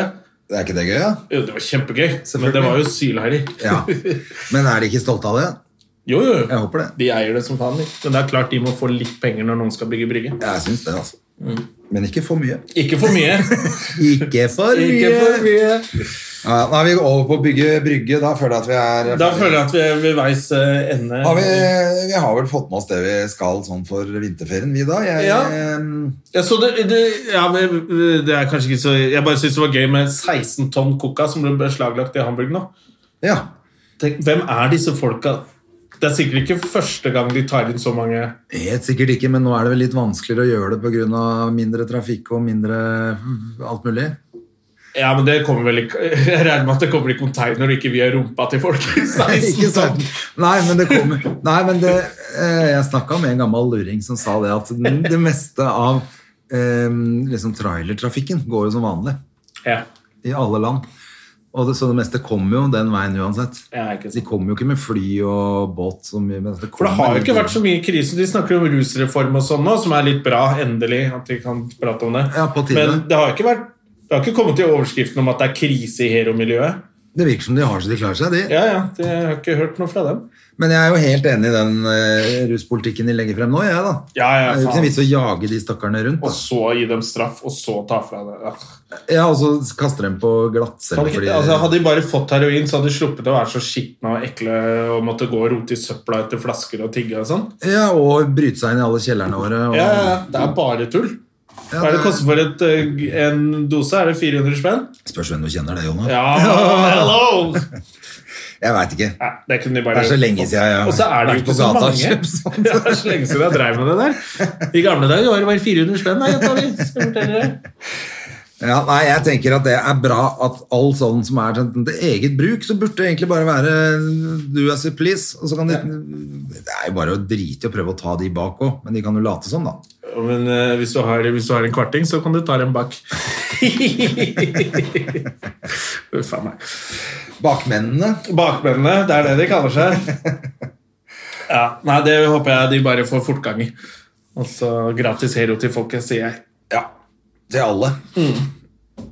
B: Er ikke det gøy, da?
A: Jo, det var kjempegøy, men det
B: Selvfølgelig.
A: var jo sylhelg.
B: Ja. Men er de ikke stolte av det?
A: Jo, jo,
B: Jeg
A: jo.
B: håper det.
A: De eier det som faen. de. Men det er klart de må få litt penger når noen skal bygge brygge.
B: Jeg syns det, altså.
A: Mm.
B: Men ikke for mye.
A: Ikke for mye.
B: [laughs] Ikke for mye!
A: Ikke for mye.
B: Ja, nå er vi over på å bygge brygge. Da føler jeg at vi er
A: Da føler jeg at vi er ved veis eh, ende.
B: har vi, vi har vel fått med oss det vi skal sånn for vinterferien, vi da? Jeg, eh,
A: Ja.
B: em,
A: Jeg så det, det, ja, men, eh, det er kanskje ikke så Jeg bare syns det var gøy med 16 tonn coca som ble beslaglagt i Hamburg nå.
B: ja.
A: Tenk, hvem er disse folka? Det er sikkert ikke første gang de tar inn så mange
B: Helt sikkert ikke, men nå er det vel litt vanskeligere å gjøre det pga. mindre trafikk og mindre mm, alt mulig.
A: Ja, men det kommer vel ikke [laughs] Jeg regner med at det kommer i container og ikke via rumpa til folk. 16
B: Ikke sant?
A: tonn.
B: Nei, men det kommer Nei, men det eh, Jeg snakka med en gammel luring som sa det at den- det meste av em, liksom trailertrafikken går jo som vanlig
A: Ja,
B: i alle land. Og det, så det meste kommer jo den veien uansett.
A: ja, ikke
B: De
A: sant.
B: kommer jo ikke med fly og båt så mye. Men det
A: For det har
B: kommer-
A: jo ikke vært så mye krise. De snakker jo om rusreform og sånn nå, som er litt bra, endelig, at de kan prate om det.
B: Ja, på tide.
A: Men det har ikke vært Det har ikke kommet i overskriften om at det er krise i heromiljøet.
B: Det virker som de har så de klarer seg, de.
A: Ja, ja, det, jeg har ikke hørt noe fra dem.
B: Men jeg er jo helt enig i den eh, ruspolitikken de legger frem nå, jeg, da.
A: Ja,
B: det
A: ja,
B: er jo ikke
A: faen.
B: noen vits å jage de stakkarene rundt.
A: Og
B: Da.
A: så gi dem straff, og så ta fra det. Ah.
B: Ja, og så kaster de på glattcelle
A: Kan ikke,
B: fordi
A: altså, hadde de bare fått heroin, så hadde de sluppet å være så skitne og ekle og måtte gå og rote i søpla etter flasker og tigge og sånn.
B: Ja, og bryte seg inn i alle kjellerne våre. Og...
A: Ja, ja, ja, det er bare tull. Hva er det
B: det-
A: koster for et, eh, en dose? Er det 400 spenn?
B: Spørs hvem du kjenner det, Jonas.
A: Ja, hello!
B: Jeg veit ikke.
A: Nei, det kunne de bare
B: Det er så lenge siden jeg har
A: Og så er det jo
B: vært på
A: ikke så
B: gata og
A: mange. [laughs]
B: kjøpt sånn. sånt.
A: Det er så lenge siden jeg drev med det der. I gamle dager var det bare 400 spenn. Nei, jenta mi, skal jeg fortelle deg.
B: [laughs] Ja, nei, jeg tenker at det er bra at all sånn som er til til eget bruk, så burde det egentlig bare være do as you please. Og så kan de, det er jo bare å drite i å prøve å ta de bak òg, men de kan jo late som, da.
A: Ja, Men eh, hvis, du har, hvis du har en kvarting, så kan du ta den bak. [laughs] Uff a meg.
B: Bakmennene.
A: Bakmennene, det er det de kaller seg. Ja, nei, det håper jeg de bare får fortgang i. Og så gratis hero til folket, sier jeg.
B: Ja. Til alle.
A: Mm.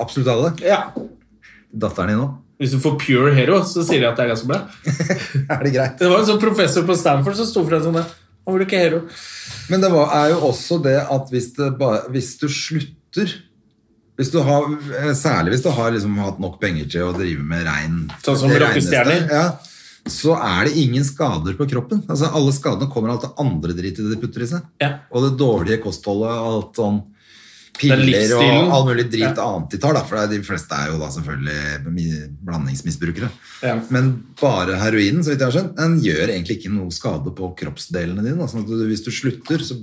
B: Absolutt alle.
A: Ja.
B: Datteren din òg.
A: Hvis du får pure hero, så sier de at det er ganske bra.
B: Er det greit?
A: Det var en sånn professor på Stanford som sto for en sånn der. Han var ikke hero.
B: Men det var, er jo også det at hvis, det bare, hvis du slutter hvis du har, eh, Særlig hvis du har liksom hatt nok penger til å drive med rein
A: Sånn som
B: det
A: rockestjerner.
B: reineste, Ja, så er det ingen skader på kroppen. Altså, alle skadene kommer av alt det andre dritet de putter i seg.
A: Ja.
B: Og det dårlige kostholdet og alt sånn piller og
A: livsstilen.
B: all mulig drit annet de tar. Da, for det er- de fleste er jo da selvfølgelig mi- blandingsmisbrukere.
A: Ja.
B: Men bare heroinen, så vidt jeg har skjønt, den gjør egentlig ikke noe skade på kroppsdelene dine. da. Sånn at du, hvis du slutter, så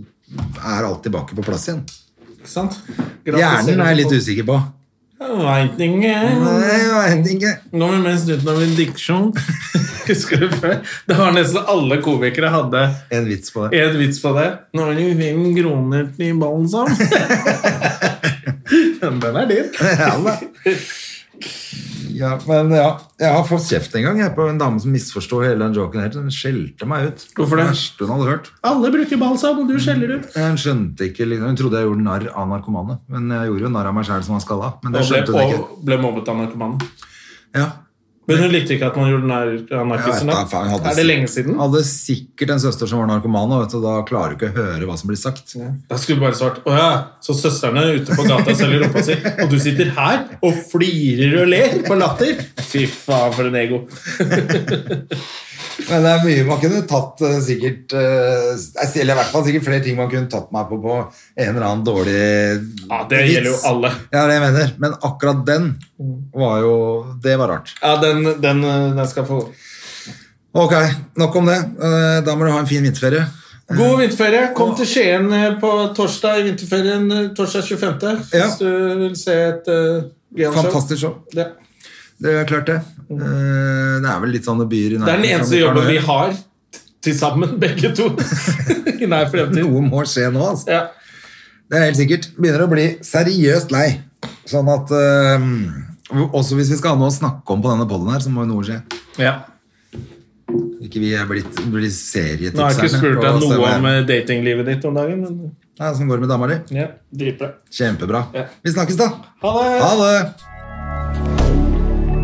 B: er alt tilbake på plass igjen.
A: Ikke sant?
B: Hjernen er jeg litt usikker på. Nei,
A: usikker.
B: jeg vet ikke.
A: Nå er vi mest utenom en
B: [laughs]
A: diksjon. Husker du før? Det var nesten alle komikere hadde
B: En vits på det.
A: en vits på det. Nå er det jo fem kroner til
B: [laughs]
A: balsam. Men Den er din.
B: Ja, da. ja, men ja. Jeg har fått kjeft en gang jeg, på en dame som misforsto hele den joken. her. Hun skjelte meg ut.
A: Hvorfor det?
B: verste hun hadde hørt.
A: Alle bruker balsam, og du skjeller ut.
B: Hun skjønte ikke, liksom. Hun trodde jeg gjorde narr av narkomane. Men jeg gjorde jo narr av meg sjæl som var skalla. Men det
A: Og ble,
B: skjønte hun ikke.
A: og ble mobbet av narkomanen.
B: Ja,
A: Men hun likte ikke at man gjorde narr av
B: Jeg vet
A: narkisen.
B: da, faen, jeg hadde-
A: sånn, Er det lenge siden?
B: Hadde sikkert en søster som var narkoman, og vet du, da klarer du ikke å høre hva som blir sagt.
A: Da skulle du bare svart Å ja, så søstrene er ute på gata selger rumpa si, og du sitter her og flirer og ler på latter? Fy faen, for en ego.
B: Men det er mye man kunne tatt eh, sikkert eh, Eller i hvert fall sikkert flere ting man kunne tatt meg på på en eller annen dårlig
A: Ja, Det
B: vits.
A: gjelder jo alle. Mm.
B: Ja, det jeg mener. Men akkurat den var jo Det var rart.
A: Ja, den, den, den skal få
B: Ok, nok om det. Eh, Da må du ha en fin vinterferie.
A: God vinterferie. Kom til Skien eh, på torsdag i vinterferien. eh, Torsdag 25.
B: Ja.
A: Hvis du vil se et uh, G-show.
B: Fantastisk show.
A: Ja.
B: Det er klart, det. Eh, Det er vel litt sånne byer i
A: Det er den
B: nærheten som
A: eneste
B: ikke har
A: jobben
B: noe å
A: vi
B: gjøre.
A: har til sammen, begge
B: [laughs]
A: to. I nær fremtid.
B: Noe må skje nå, altså.
A: Ja.
B: Det er helt sikkert. Begynner å bli seriøst lei. Sånn at eh, Også hvis vi skal ha noe å snakke om på denne podden her, så må jo noe skje.
A: ja.
B: Ikke vi er blitt, blir
A: Nå har jeg ikke
B: serietipserne.
A: spurt
B: på
A: deg
B: å
A: noe
B: stemme.
A: om eh, datinglivet ditt om dagen, men
B: Nei, Åssen sånn går det med dama di?
A: Ja, Dritbra.
B: Kjempebra.
A: Ja.
B: Vi snakkes, da.
A: Ha det!
B: Ha det!